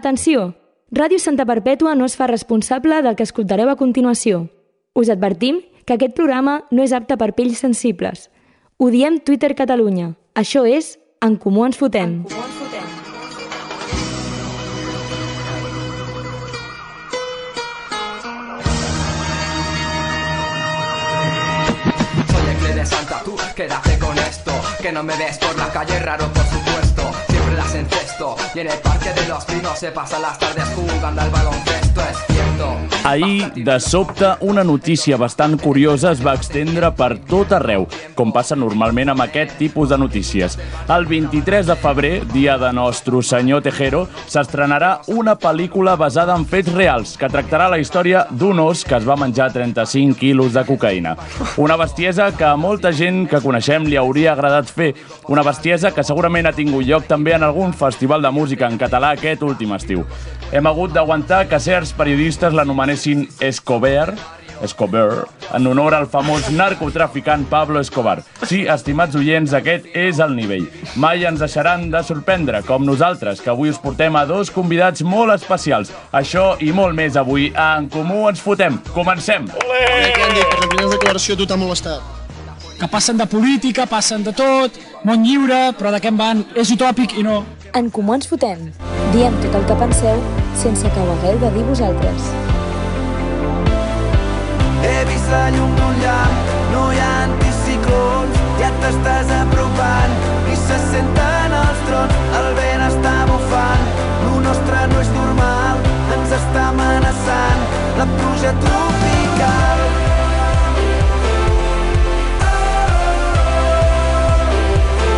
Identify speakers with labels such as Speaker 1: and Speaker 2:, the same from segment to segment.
Speaker 1: Atenció! Ràdio Santa Perpètua no es fa responsable del que escoltareu a continuació. Us advertim que aquest programa no és apte per pells sensibles. Ho diem Twitter Catalunya. Això és En Comú Ens Fotem.
Speaker 2: Soy el clé de Santa, tú quédate con esto. Que no me ves por la calle, raro por supuesto. Siempre las encesto. Y en el parque de los pinos se pasan las tardes jugando al baloncesto, es cierto.
Speaker 3: Ahir, de sobte, una notícia bastant curiosa es va extendre per tot arreu, com passa normalment amb aquest tipus de notícies. El 23 de febrer, dia de Nostro Senyor Tejero, s'estrenarà una pel·lícula basada en fets reals que tractarà la història d'un os que es va menjar 35 quilos de cocaïna. Una bestiesa que a molta gent que coneixem li hauria agradat fer. Una bestiesa que segurament ha tingut lloc també en algun festival de música en català aquest últim estiu. Hem hagut d'aguantar que certs periodistes l'anomenessin Escobar, Escobar, en honor al famós narcotraficant Pablo Escobar. Sí, estimats oients, aquest és el nivell. Mai ens deixaran de sorprendre, com nosaltres, que avui us portem a dos convidats molt especials. Això i molt més avui a En Comú Ens Fotem. Comencem!
Speaker 4: Ja t'ho han dit, per la primera declaració tu t'ha molestat.
Speaker 5: que passen de política, passen de tot, món lliure, però de què en van? És utòpic i no.
Speaker 6: En Comú Ens Fotem. Diem tot el que penseu sense que ho hagueu de dir vosaltres.
Speaker 2: He vist la llum d'un llac, no hi ha anticiclons, ja t'estàs apropant i se senten els trons, el vent està bufant, lo nostre no és normal, ens està amenaçant la pluja tropical.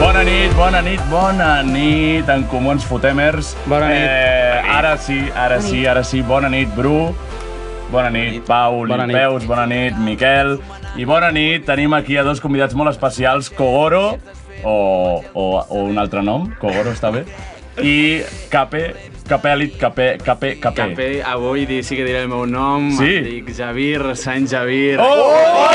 Speaker 3: Bona nit, bona nit, bona nit, en Comú Ens Fotemers.
Speaker 7: Bona nit.
Speaker 3: Eh, ara sí, ara sí, ara sí, bona nit, Bru. Bona nit, Pau,
Speaker 7: Bona
Speaker 3: bona
Speaker 7: nit.
Speaker 3: Peus, bona nit, Miquel. I bona nit, tenim aquí a dos convidats molt especials, Kogoro, o, o, o un altre nom, Kogoro està bé, i Cape, Capelit, Cape, Cape, Cape.
Speaker 7: Capé, avui di- sí que diré el meu nom,
Speaker 3: Sí.
Speaker 7: em dic Javier, Sant Javier.
Speaker 3: Oh! oh!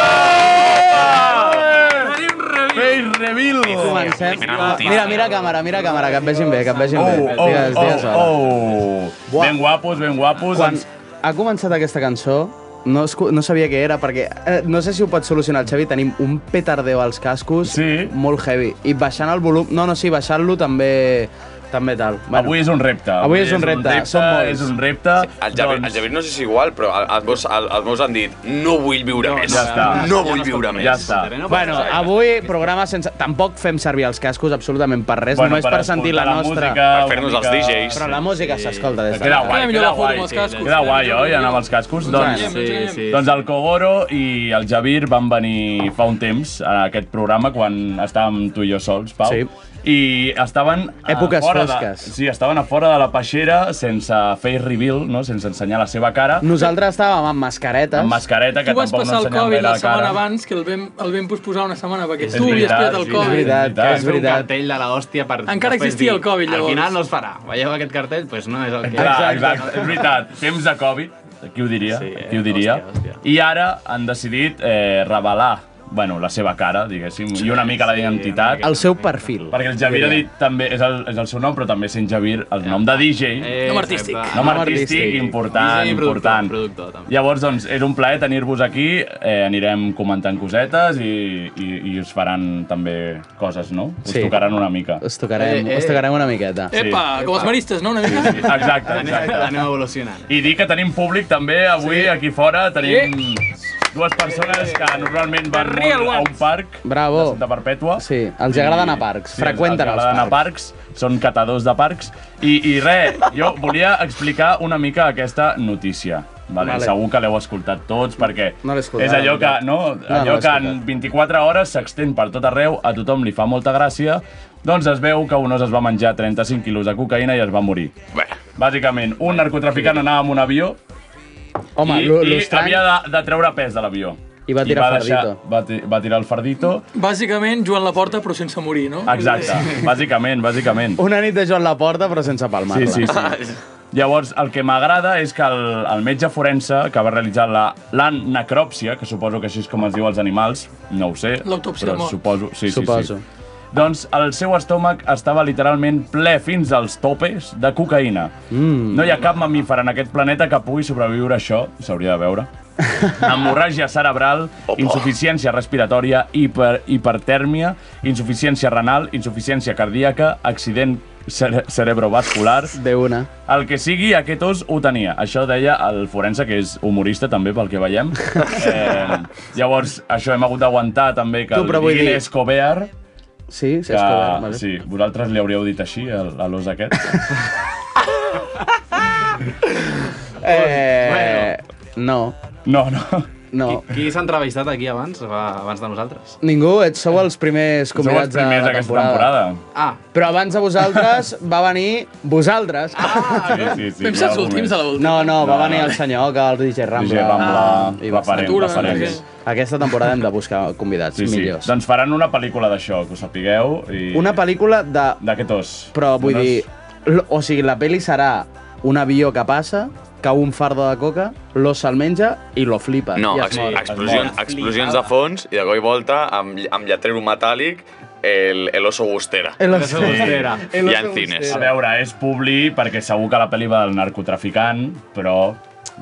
Speaker 3: Face reveal!
Speaker 8: Comencem. Ah, Mira, mira càmera, mira càmera, que et vegin bé, que et vegin
Speaker 3: Oh,
Speaker 8: bé.
Speaker 3: oh,
Speaker 8: Digues, digues
Speaker 3: oh,
Speaker 8: hola.
Speaker 3: oh.
Speaker 8: Buah.
Speaker 3: Ben guapos, ben guapos.
Speaker 8: Quan
Speaker 3: Ens-
Speaker 8: ha començat aquesta cançó, no, es, no sabia què era, perquè eh, no sé si ho pots solucionar, el Xavi, tenim un petardeo als cascos
Speaker 3: Sí.
Speaker 8: molt heavy. I baixant el volum... No, no, sí, baixant-lo també... També tal.
Speaker 3: Bueno, avui és un repte.
Speaker 8: Avui és un repte, som molts.
Speaker 3: És un repte. Doncs
Speaker 9: El Javier, el Javier no sé si és igual, però el- els meus, el- els meus han dit no vull viure
Speaker 7: No,
Speaker 9: més.
Speaker 3: ja està.
Speaker 9: No
Speaker 7: Ja no
Speaker 9: vull
Speaker 7: es pot
Speaker 9: viure
Speaker 7: més.
Speaker 9: més.
Speaker 3: Ja està.
Speaker 7: Tere, no pot
Speaker 8: Bueno,
Speaker 7: ser.
Speaker 8: avui programa sense... Tampoc fem servir els cascos absolutament per res, només per, sentir la, nostra.
Speaker 9: Per fer-nos els DJs.
Speaker 8: Però la música s'escolta des de
Speaker 3: Queda guai,
Speaker 5: Queda millor
Speaker 3: queda
Speaker 5: la foto
Speaker 3: guai.
Speaker 5: amb els cascos.
Speaker 3: Queda guai, oi, anar amb els cascos? Doncs,
Speaker 7: Sí, sí.
Speaker 3: Doncs el Kogoro i el Javier van venir fa un temps a aquest programa quan estàvem tu i jo sols, Pau.
Speaker 8: Sí.
Speaker 3: I estaven a
Speaker 8: Èpoques
Speaker 3: fora
Speaker 8: fosques.
Speaker 3: De, sí, estaven a fora de la peixera sense face reveal, no? sense ensenyar la seva cara.
Speaker 8: Nosaltres estàvem amb mascaretes.
Speaker 3: Amb mascareta, que
Speaker 10: tu vas
Speaker 3: tampoc no
Speaker 10: passar el
Speaker 3: ensenyem
Speaker 10: Covid
Speaker 3: gaire
Speaker 10: la
Speaker 3: la cara.
Speaker 10: setmana abans, que el vam, el vam posposar una setmana, perquè
Speaker 3: És
Speaker 10: tu havies
Speaker 3: veritat,
Speaker 10: pillat el
Speaker 3: sí,
Speaker 10: Covid.
Speaker 8: És veritat,
Speaker 3: És
Speaker 8: és
Speaker 7: Fer un
Speaker 8: veritat.
Speaker 7: cartell de l'hòstia per...
Speaker 10: Encara
Speaker 7: després
Speaker 10: existia
Speaker 7: dir,
Speaker 10: el Covid,
Speaker 7: Al
Speaker 10: llavors."
Speaker 7: final no es farà. Veieu aquest cartell? Doncs pues no és el que...
Speaker 3: Clar, exacte, és veritat. Temps de Covid, qui ho diria,
Speaker 7: Sí, eh?
Speaker 3: qui ho diria.
Speaker 7: Hòstia, hòstia.
Speaker 3: I ara han decidit eh, revelar bueno, la seva cara, diguéssim, i una mica la
Speaker 7: sí,
Speaker 3: identitat.
Speaker 7: una
Speaker 8: El seu perfil.
Speaker 3: Perquè el Javier ha dit també, és el, és el seu nom, però també sent Javier el nom de DJ.
Speaker 7: Eh,
Speaker 10: Nom artístic.
Speaker 7: exacte.
Speaker 3: Nom
Speaker 8: nom
Speaker 3: artístic
Speaker 8: artístic.
Speaker 3: important,
Speaker 7: DJ i productor,
Speaker 3: important.
Speaker 7: productor, també.
Speaker 3: Llavors, doncs, és un plaer tenir-vos aquí, eh, anirem comentant cosetes i, i, i us faran també coses, no? Us
Speaker 8: Sí.
Speaker 3: tocaran una mica.
Speaker 8: Us tocarem,
Speaker 7: Eh, eh.
Speaker 8: us tocarem una miqueta.
Speaker 10: Epa, com els maristes, no? Una mica?
Speaker 3: Exacte,
Speaker 7: Anem,
Speaker 3: exacte.
Speaker 7: anem evolucionant.
Speaker 3: I dir que tenim públic també avui sí. aquí fora, tenim dues persones que normalment van
Speaker 10: The real
Speaker 3: molt a un
Speaker 10: ones.
Speaker 3: parc de
Speaker 8: Bravo.
Speaker 3: Santa Perpètua.
Speaker 8: Sí, els agrada anar a parcs,
Speaker 3: els-
Speaker 8: freqüenten
Speaker 3: els
Speaker 8: els
Speaker 3: agraden a parcs, són catadors de parcs. I, i res, jo volia explicar una mica aquesta notícia. Vale,
Speaker 8: Vale.
Speaker 3: vale. Segur que l'heu escoltat tots perquè
Speaker 8: No l'he escoltat,
Speaker 3: és allò
Speaker 8: la
Speaker 3: que,
Speaker 8: veritat.
Speaker 3: no,
Speaker 8: No, no
Speaker 3: allò
Speaker 8: l'he
Speaker 3: que en
Speaker 8: escoltat.
Speaker 3: 24 hores s'extén per tot arreu, a tothom li fa molta gràcia, doncs es veu que un os es va menjar 35 quilos de cocaïna i es va morir.
Speaker 9: Bé,
Speaker 3: Bàsicament, un narcotraficant anava amb un avió
Speaker 8: Home,
Speaker 3: i,
Speaker 8: lo-
Speaker 3: i
Speaker 8: l'estrany...
Speaker 3: havia de, de treure pes de l'avió.
Speaker 8: I va tirar fardito.
Speaker 3: va, ti- va tirar el fardito.
Speaker 10: Bàsicament, Joan Laporta, però sense morir, no?
Speaker 3: Exacte, bàsicament, bàsicament.
Speaker 8: Una nit de Joan Laporta, però sense
Speaker 3: Sí,
Speaker 8: palmar-la.
Speaker 3: sí, sí. Llavors, el que m'agrada és que el, el metge forense que va realitzar la, la necròpsia, que suposo que així és com es diu als animals, no ho sé,
Speaker 10: L'autòpsia de
Speaker 3: però
Speaker 10: mort.
Speaker 3: suposo... Sí,
Speaker 8: Suposo.
Speaker 3: Sí, sí. Doncs el seu estómac estava literalment ple fins als topes de cocaïna. Mm. No hi ha cap mamífer en aquest planeta que pugui sobreviure a això, s'hauria de veure. Hemorràgia cerebral, insuficiència respiratòria, hiper, hipertèrmia, insuficiència renal, insuficiència cardíaca, accident cere cerebrovascular...
Speaker 8: De una.
Speaker 3: El que sigui, aquest os ho tenia. Això deia el forense, que és humorista també, pel que veiem. Eh, llavors, això hem hagut d'aguantar també que
Speaker 8: Tu, però
Speaker 3: el
Speaker 8: vull
Speaker 3: diguin
Speaker 8: dir-
Speaker 3: Escobar,
Speaker 8: Sí, sí,
Speaker 3: que,
Speaker 8: és que... Vale.
Speaker 3: sí, vosaltres li hauríeu dit així, a, a l'os aquest.
Speaker 8: Eh, no,
Speaker 3: No, no.
Speaker 8: no.
Speaker 7: Qui s'ha entrevistat aquí abans, va- abans de nosaltres?
Speaker 8: Ningú, et sou els primers
Speaker 3: Sou
Speaker 8: convidats
Speaker 3: els primers
Speaker 8: de la
Speaker 3: d'aquesta
Speaker 8: temporada.
Speaker 3: temporada.
Speaker 7: Ah,
Speaker 8: Però abans de vosaltres va venir vosaltres. Ah,
Speaker 3: Sí, sí, sí.
Speaker 10: Vam ser els últims a la última.
Speaker 8: no, no, va
Speaker 3: No,
Speaker 8: venir
Speaker 3: no.
Speaker 8: el senyor que el DJ Rambla. Ah.
Speaker 3: DJ Rambla,
Speaker 8: i
Speaker 3: va
Speaker 8: bastant.
Speaker 3: parent,
Speaker 10: Natura,
Speaker 3: va parent.
Speaker 10: no sé
Speaker 8: Aquesta temporada hem de buscar convidats
Speaker 3: Sí, sí.
Speaker 8: millors.
Speaker 3: Doncs faran una pel·lícula d'això, que ho sapigueu. I...
Speaker 8: Una pel·lícula de...
Speaker 3: D'aquest os.
Speaker 8: Però vull
Speaker 3: Unes-
Speaker 8: dir... l- O sigui, la pel·li serà un avió que passa, cau un fardo de coca, l'os se'l menja i lo flipa.
Speaker 9: No,
Speaker 8: I es
Speaker 9: ex
Speaker 8: mor.
Speaker 9: explosions,
Speaker 3: es mor.
Speaker 9: explosions de fons i de cop i volta amb, ll- amb lletrero metàl·lic el, el oso bustera.
Speaker 8: El
Speaker 7: que
Speaker 8: oso-
Speaker 7: segur que era.
Speaker 8: el
Speaker 9: I
Speaker 8: oso
Speaker 9: en cines.
Speaker 3: A
Speaker 8: bustero.
Speaker 3: veure, és publi perquè segur que la pel·li va del narcotraficant, però...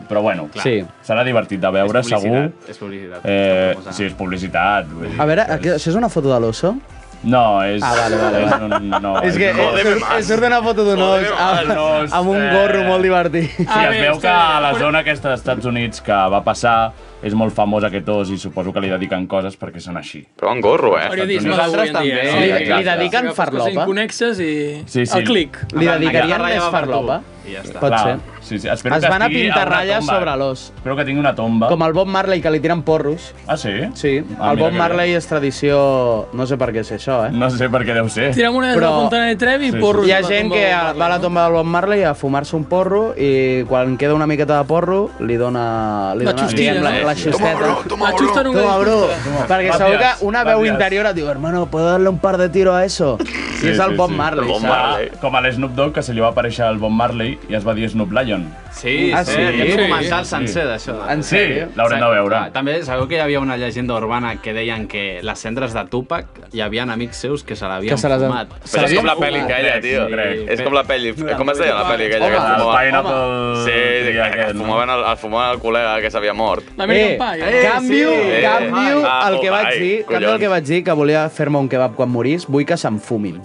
Speaker 3: Però bueno, clar.
Speaker 8: Sí.
Speaker 3: serà divertit de veure,
Speaker 7: és
Speaker 3: segur.
Speaker 7: publicitat, És publicitat.
Speaker 3: Eh,
Speaker 7: Famosa.
Speaker 3: sí, és publicitat. Vull dir,
Speaker 8: A veure, aquí- això és una foto de l'oso?
Speaker 3: No, és...
Speaker 8: Ah, vale, vale,
Speaker 3: És un, no,
Speaker 8: És que
Speaker 3: no, eh.
Speaker 8: eh, surt- eh, surt una foto d'un os
Speaker 9: Jodeme
Speaker 8: amb,
Speaker 3: más.
Speaker 8: amb un gorro molt divertit.
Speaker 3: Sí, es
Speaker 10: A veure,
Speaker 3: veu que
Speaker 10: espera,
Speaker 3: a la
Speaker 10: però-
Speaker 3: zona aquesta dels Estats Units que va passar és molt famós aquest os i suposo que li dediquen coses perquè són així.
Speaker 9: Però en gorro, eh?
Speaker 10: Periodisme d'avui en dia.
Speaker 3: també.
Speaker 10: eh?
Speaker 3: Li-
Speaker 10: Sí,
Speaker 3: li
Speaker 10: exacte.
Speaker 8: dediquen
Speaker 10: Agafes coses
Speaker 8: farlopa.
Speaker 10: Inconnexes i...
Speaker 3: Sí, sí.
Speaker 10: El clic.
Speaker 8: Li dedicarien
Speaker 7: Ara ja
Speaker 8: més
Speaker 7: va per
Speaker 8: farlopa.
Speaker 7: tu. I ja està.
Speaker 8: Pot ser.
Speaker 3: Sí, sí. Espero
Speaker 8: Es
Speaker 3: que
Speaker 8: van a
Speaker 3: estigui
Speaker 8: pintar
Speaker 3: una
Speaker 8: ratlles
Speaker 3: tomba. eh?
Speaker 8: sobre l'os.
Speaker 3: Espero que tingui una tomba.
Speaker 8: Com el Bob Marley, que li tiren porros.
Speaker 3: Ah, sí?
Speaker 8: Sí,
Speaker 3: Ah, mira
Speaker 8: el Bob
Speaker 3: que
Speaker 8: Marley és tradició... No sé per què és això, eh?
Speaker 3: bé. No sé per què deu ser.
Speaker 10: Tirem una des de
Speaker 8: Però-
Speaker 10: la Fontana de Trevi
Speaker 3: Sí,
Speaker 10: i
Speaker 3: sí.
Speaker 10: porros.
Speaker 8: Hi ha
Speaker 10: a la
Speaker 8: gent
Speaker 10: tomba
Speaker 8: que
Speaker 10: del Marley,
Speaker 8: va a la
Speaker 10: no?
Speaker 8: tomba del Bob Marley a fumar-se un porro i quan queda una miqueta de porro li dona... Li
Speaker 10: La
Speaker 8: dona
Speaker 10: xustilla,
Speaker 8: diguem, la,
Speaker 10: no?
Speaker 8: la xusteta.
Speaker 10: La xusta nunca
Speaker 8: Toma, bro. Perquè
Speaker 3: Gracias,
Speaker 8: segur que una veu
Speaker 3: gracias.
Speaker 8: interior et diu hermano, ¿puedo darle un par de tiro a eso? I és el Bob Marley,
Speaker 9: El Bob
Speaker 8: saps?
Speaker 9: Marley.
Speaker 3: Com a l'Snoop Dogg, que se li va aparèixer el Bob Marley i es va dir Snoop Lion. Eh,
Speaker 7: Sí,
Speaker 8: Ah,
Speaker 7: ah,
Speaker 8: sí?
Speaker 7: sí. Hi ha
Speaker 10: Sí.
Speaker 7: un documental sencer d'això.
Speaker 8: En sèrio?
Speaker 3: L'haurem de veure.
Speaker 7: Ah, també sabeu que hi havia una llegenda urbana que deien que les cendres de Tupac hi havia amics seus que se l'havien
Speaker 8: Que se les han-
Speaker 7: fumat.
Speaker 8: se
Speaker 9: Però és com la
Speaker 8: Sabia?
Speaker 9: pel·li aquella, tio.
Speaker 3: Sí.
Speaker 9: És com la pel·li... Com es deia la pel·li aquella
Speaker 8: Home,
Speaker 9: que es
Speaker 3: El
Speaker 9: fumava?
Speaker 3: Pineapple...
Speaker 9: Sí, que,
Speaker 3: dia
Speaker 9: que
Speaker 3: aquest,
Speaker 9: es
Speaker 3: no?
Speaker 9: fumaven el, el fumaven el col·lega que s'havia mort.
Speaker 10: L'American Pie.
Speaker 8: eh,
Speaker 10: eh?
Speaker 8: canvio,
Speaker 9: Eh,
Speaker 8: canvio
Speaker 9: ah,
Speaker 8: el que
Speaker 9: oh,
Speaker 8: vaig
Speaker 9: ai,
Speaker 8: dir, canvio el
Speaker 9: collons.
Speaker 8: que vaig dir, que volia fer-me un kebab quan morís, vull que se'n fumin.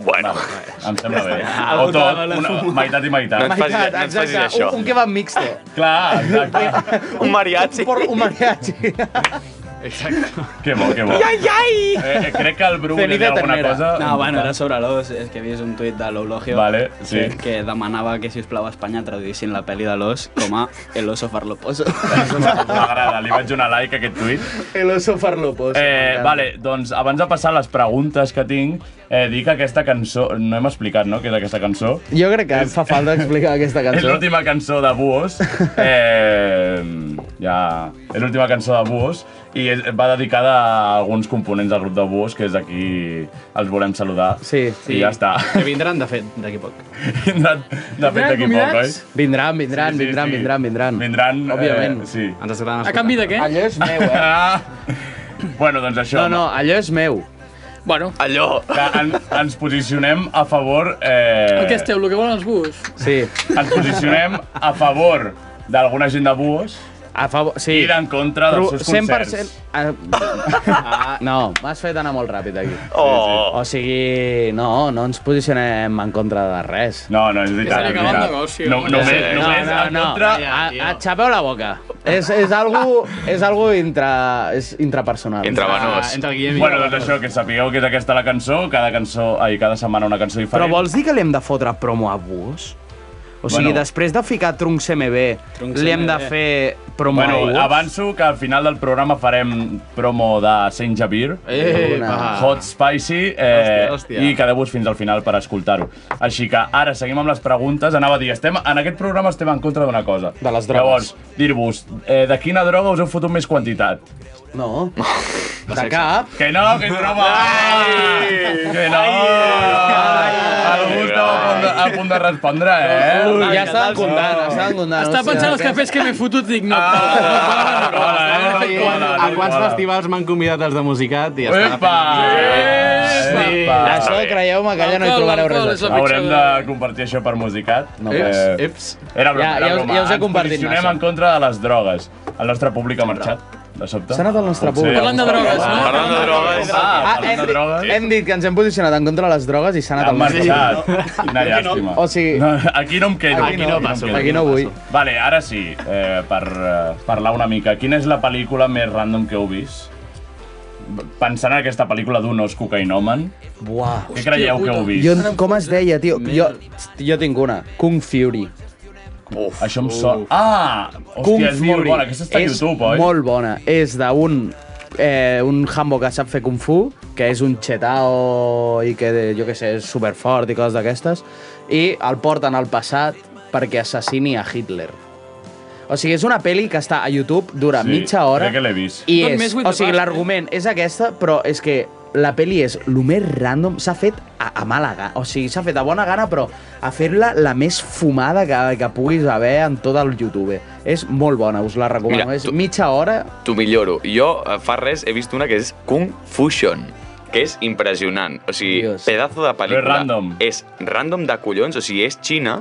Speaker 9: Bueno,
Speaker 3: Em sembla bé. O tot, una, meitat i
Speaker 9: no ens
Speaker 3: meitat.
Speaker 9: facis, no ens facis
Speaker 8: exacte,
Speaker 9: això.
Speaker 8: un, un kebab mixto.
Speaker 3: Clar, exacte.
Speaker 9: un mariachi.
Speaker 8: Por un mariachi.
Speaker 3: Que bo, que bo. Ai, ai! Eh, eh, crec que el Bru volia dir
Speaker 8: Cenita
Speaker 3: alguna
Speaker 8: ternera.
Speaker 3: cosa.
Speaker 11: No, bueno, era sobre l'os, és que he vist un tuit de l'Eulogio
Speaker 3: Vale, sí.
Speaker 11: que demanava que, si us plau, a Espanya traduïssin la pel·li de l'os com a El oso farloposo.
Speaker 3: M'agrada, li vaig donar like a aquest tuit.
Speaker 8: El oso farloposo.
Speaker 3: Eh, vale, doncs abans de passar a les preguntes que tinc, eh, dir que aquesta cançó... No hem explicat, no?, què és aquesta cançó.
Speaker 8: Jo crec que em fa falta explicar aquesta
Speaker 3: És
Speaker 8: cançó.
Speaker 3: l'última cançó de Buos. Eh, ja... És l'última cançó de Buos i és, va dedicada a alguns components del grup de Buos, que és aquí els volem saludar.
Speaker 8: Sí.
Speaker 3: I ja està.
Speaker 7: Que vindran, de fet, d'aquí poc.
Speaker 3: Vindran, de fet, d'aquí poc, oi?
Speaker 10: convidats?
Speaker 8: Vindran, vindran,
Speaker 3: Sí, sí,
Speaker 8: vindran,
Speaker 3: sí.
Speaker 8: vindran, vindran.
Speaker 3: Vindran,
Speaker 8: Òbviament.
Speaker 3: Eh, sí.
Speaker 7: Ens agraden
Speaker 10: A canvi de què?
Speaker 8: Allò és meu, eh?
Speaker 3: Ah, bueno, doncs això.
Speaker 8: No, no, allò és meu.
Speaker 10: Bueno,
Speaker 9: Allò.
Speaker 3: Que en, ens posicionem a favor... Eh,
Speaker 10: el que esteu, el que volen els bus.
Speaker 8: Sí.
Speaker 3: ens posicionem a favor d'alguna gent de Buos
Speaker 8: A favor, sí.
Speaker 3: i d'en contra dels seus concerts.
Speaker 8: 100%... Ah, no, m'has fet anar molt ràpid aquí.
Speaker 9: Oh.
Speaker 8: O sigui, no, no ens posicionem en contra de res.
Speaker 3: No, no, és veritat.
Speaker 10: Estan
Speaker 3: és
Speaker 10: acabant
Speaker 3: veritat.
Speaker 10: negoci,
Speaker 3: No,
Speaker 10: home.
Speaker 3: només,
Speaker 9: Sí,
Speaker 3: no, només no, en contra...
Speaker 8: A, a, xapeu la boca. És, és algo, és algo intra, és intrapersonal. Ah.
Speaker 9: Intravenós.
Speaker 7: Entre el Guillem i
Speaker 3: Bueno, doncs això, que sapigueu que és aquesta la cançó, cada cançó, ai, cada setmana una cançó
Speaker 8: Però
Speaker 3: diferent.
Speaker 8: vols dir que li hem de fotre promo a Bus? O
Speaker 3: Bueno.
Speaker 8: sigui, bueno. després de ficar Trunks MB,
Speaker 11: Trunks
Speaker 8: li hem de
Speaker 11: MB.
Speaker 8: fer promo
Speaker 3: Bueno,
Speaker 8: a Bus?
Speaker 3: avanço que al final del programa farem promo de Saint Javier,
Speaker 7: Eh,
Speaker 8: Una.
Speaker 7: va.
Speaker 3: Hot Spicy, eh,
Speaker 7: Hòstia, hòstia.
Speaker 3: i quedeu-vos fins al final per escoltar-ho. Així que ara seguim amb les preguntes. Anava a dir, estem, en aquest programa estem en contra d'una cosa.
Speaker 8: De les drogues.
Speaker 3: Llavors, dir-vos, eh, de quina droga us heu fotut més quantitat?
Speaker 8: No. De cap.
Speaker 3: Que no, que és broma. Que no. Algú estava a punt de, a punt de respondre, eh?
Speaker 8: Ui, ja estaven comptant, estaven comptant.
Speaker 10: Està pensant els cafès que m'he fotut, dic no. Ah,
Speaker 7: Hola, eh? A quants festivals m'han convidat els de Musicat i ja estan
Speaker 3: Epa!
Speaker 7: Sí.
Speaker 8: Això, creieu-me, que allà no hi
Speaker 10: Alcohol,
Speaker 8: trobareu
Speaker 10: alcohol,
Speaker 8: res.
Speaker 10: és la
Speaker 3: Haurem de compartir això per musicat.
Speaker 8: No
Speaker 3: Eh,
Speaker 8: pas.
Speaker 3: Era broma,
Speaker 8: Ja-
Speaker 3: era
Speaker 8: ja us-
Speaker 3: broma.
Speaker 8: ja us he
Speaker 3: Ens
Speaker 8: compartit
Speaker 3: posicionem
Speaker 8: massa.
Speaker 3: en contra de les drogues. El nostre públic ha marxat, de sobte.
Speaker 8: S'ha anat el nostre
Speaker 3: Potser-
Speaker 8: públic.
Speaker 10: Parlant de drogues, no?
Speaker 9: Parlant de drogues...
Speaker 3: Ah,
Speaker 8: Ah,
Speaker 3: parlant
Speaker 8: hem,
Speaker 3: de drogues.
Speaker 8: hem dit que ens hem posicionat en contra de les drogues i s'ha anat
Speaker 3: Han
Speaker 8: al nostre
Speaker 3: marxat. Quina llàstima.
Speaker 8: O sigui-
Speaker 3: No, aquí no em quedo.
Speaker 8: Aquí no
Speaker 3: em
Speaker 8: passo,
Speaker 3: quedo.
Speaker 8: aquí no vull.
Speaker 3: Vale, ara sí, eh, per eh, parlar una mica. Quina és la pel·lícula més random que heu vist? B- Pensant en aquesta pel·lícula d'un os cocainoman,
Speaker 8: Buah.
Speaker 3: què creieu que heu vist?
Speaker 8: Jo, com es deia, tio? Jo, jo tinc una. Kung Fury.
Speaker 9: Uf,
Speaker 3: Això em sona... Ah!
Speaker 8: Kung
Speaker 3: Hòstia, és molt
Speaker 8: Fury.
Speaker 3: bona. Aquesta està a
Speaker 8: és
Speaker 3: YouTube, oi?
Speaker 8: molt bona. És d'un eh, un hambo que sap fer kung fu, que és un xetao i que, jo què sé, és superfort i coses d'aquestes, i el porten al passat perquè assassini a Hitler. O sigui, és una pel·li que està a YouTube, dura
Speaker 3: Sí,
Speaker 8: mitja hora,
Speaker 3: crec que l'he vist.
Speaker 8: i
Speaker 10: Not
Speaker 8: és...
Speaker 10: mess with
Speaker 8: O
Speaker 10: the
Speaker 8: sigui,
Speaker 10: past,
Speaker 8: l'argument és aquesta, però és que la pel·li és lo més random, s'ha fet a, a mala gana, o sigui, s'ha fet a bona gana, però a fer-la la més fumada que, que puguis haver en tot el YouTube. És molt bona, us la recomano.
Speaker 9: Mira,
Speaker 8: és
Speaker 9: tu-
Speaker 8: mitja hora...
Speaker 9: T'ho milloro. Jo, eh, fa res, he vist una que és Kung Fusion, que és impressionant. O sigui,
Speaker 8: Dios.
Speaker 9: Dios. pedazo de pel·lícula.
Speaker 3: Però és random.
Speaker 9: És random de collons, o sigui, és xina,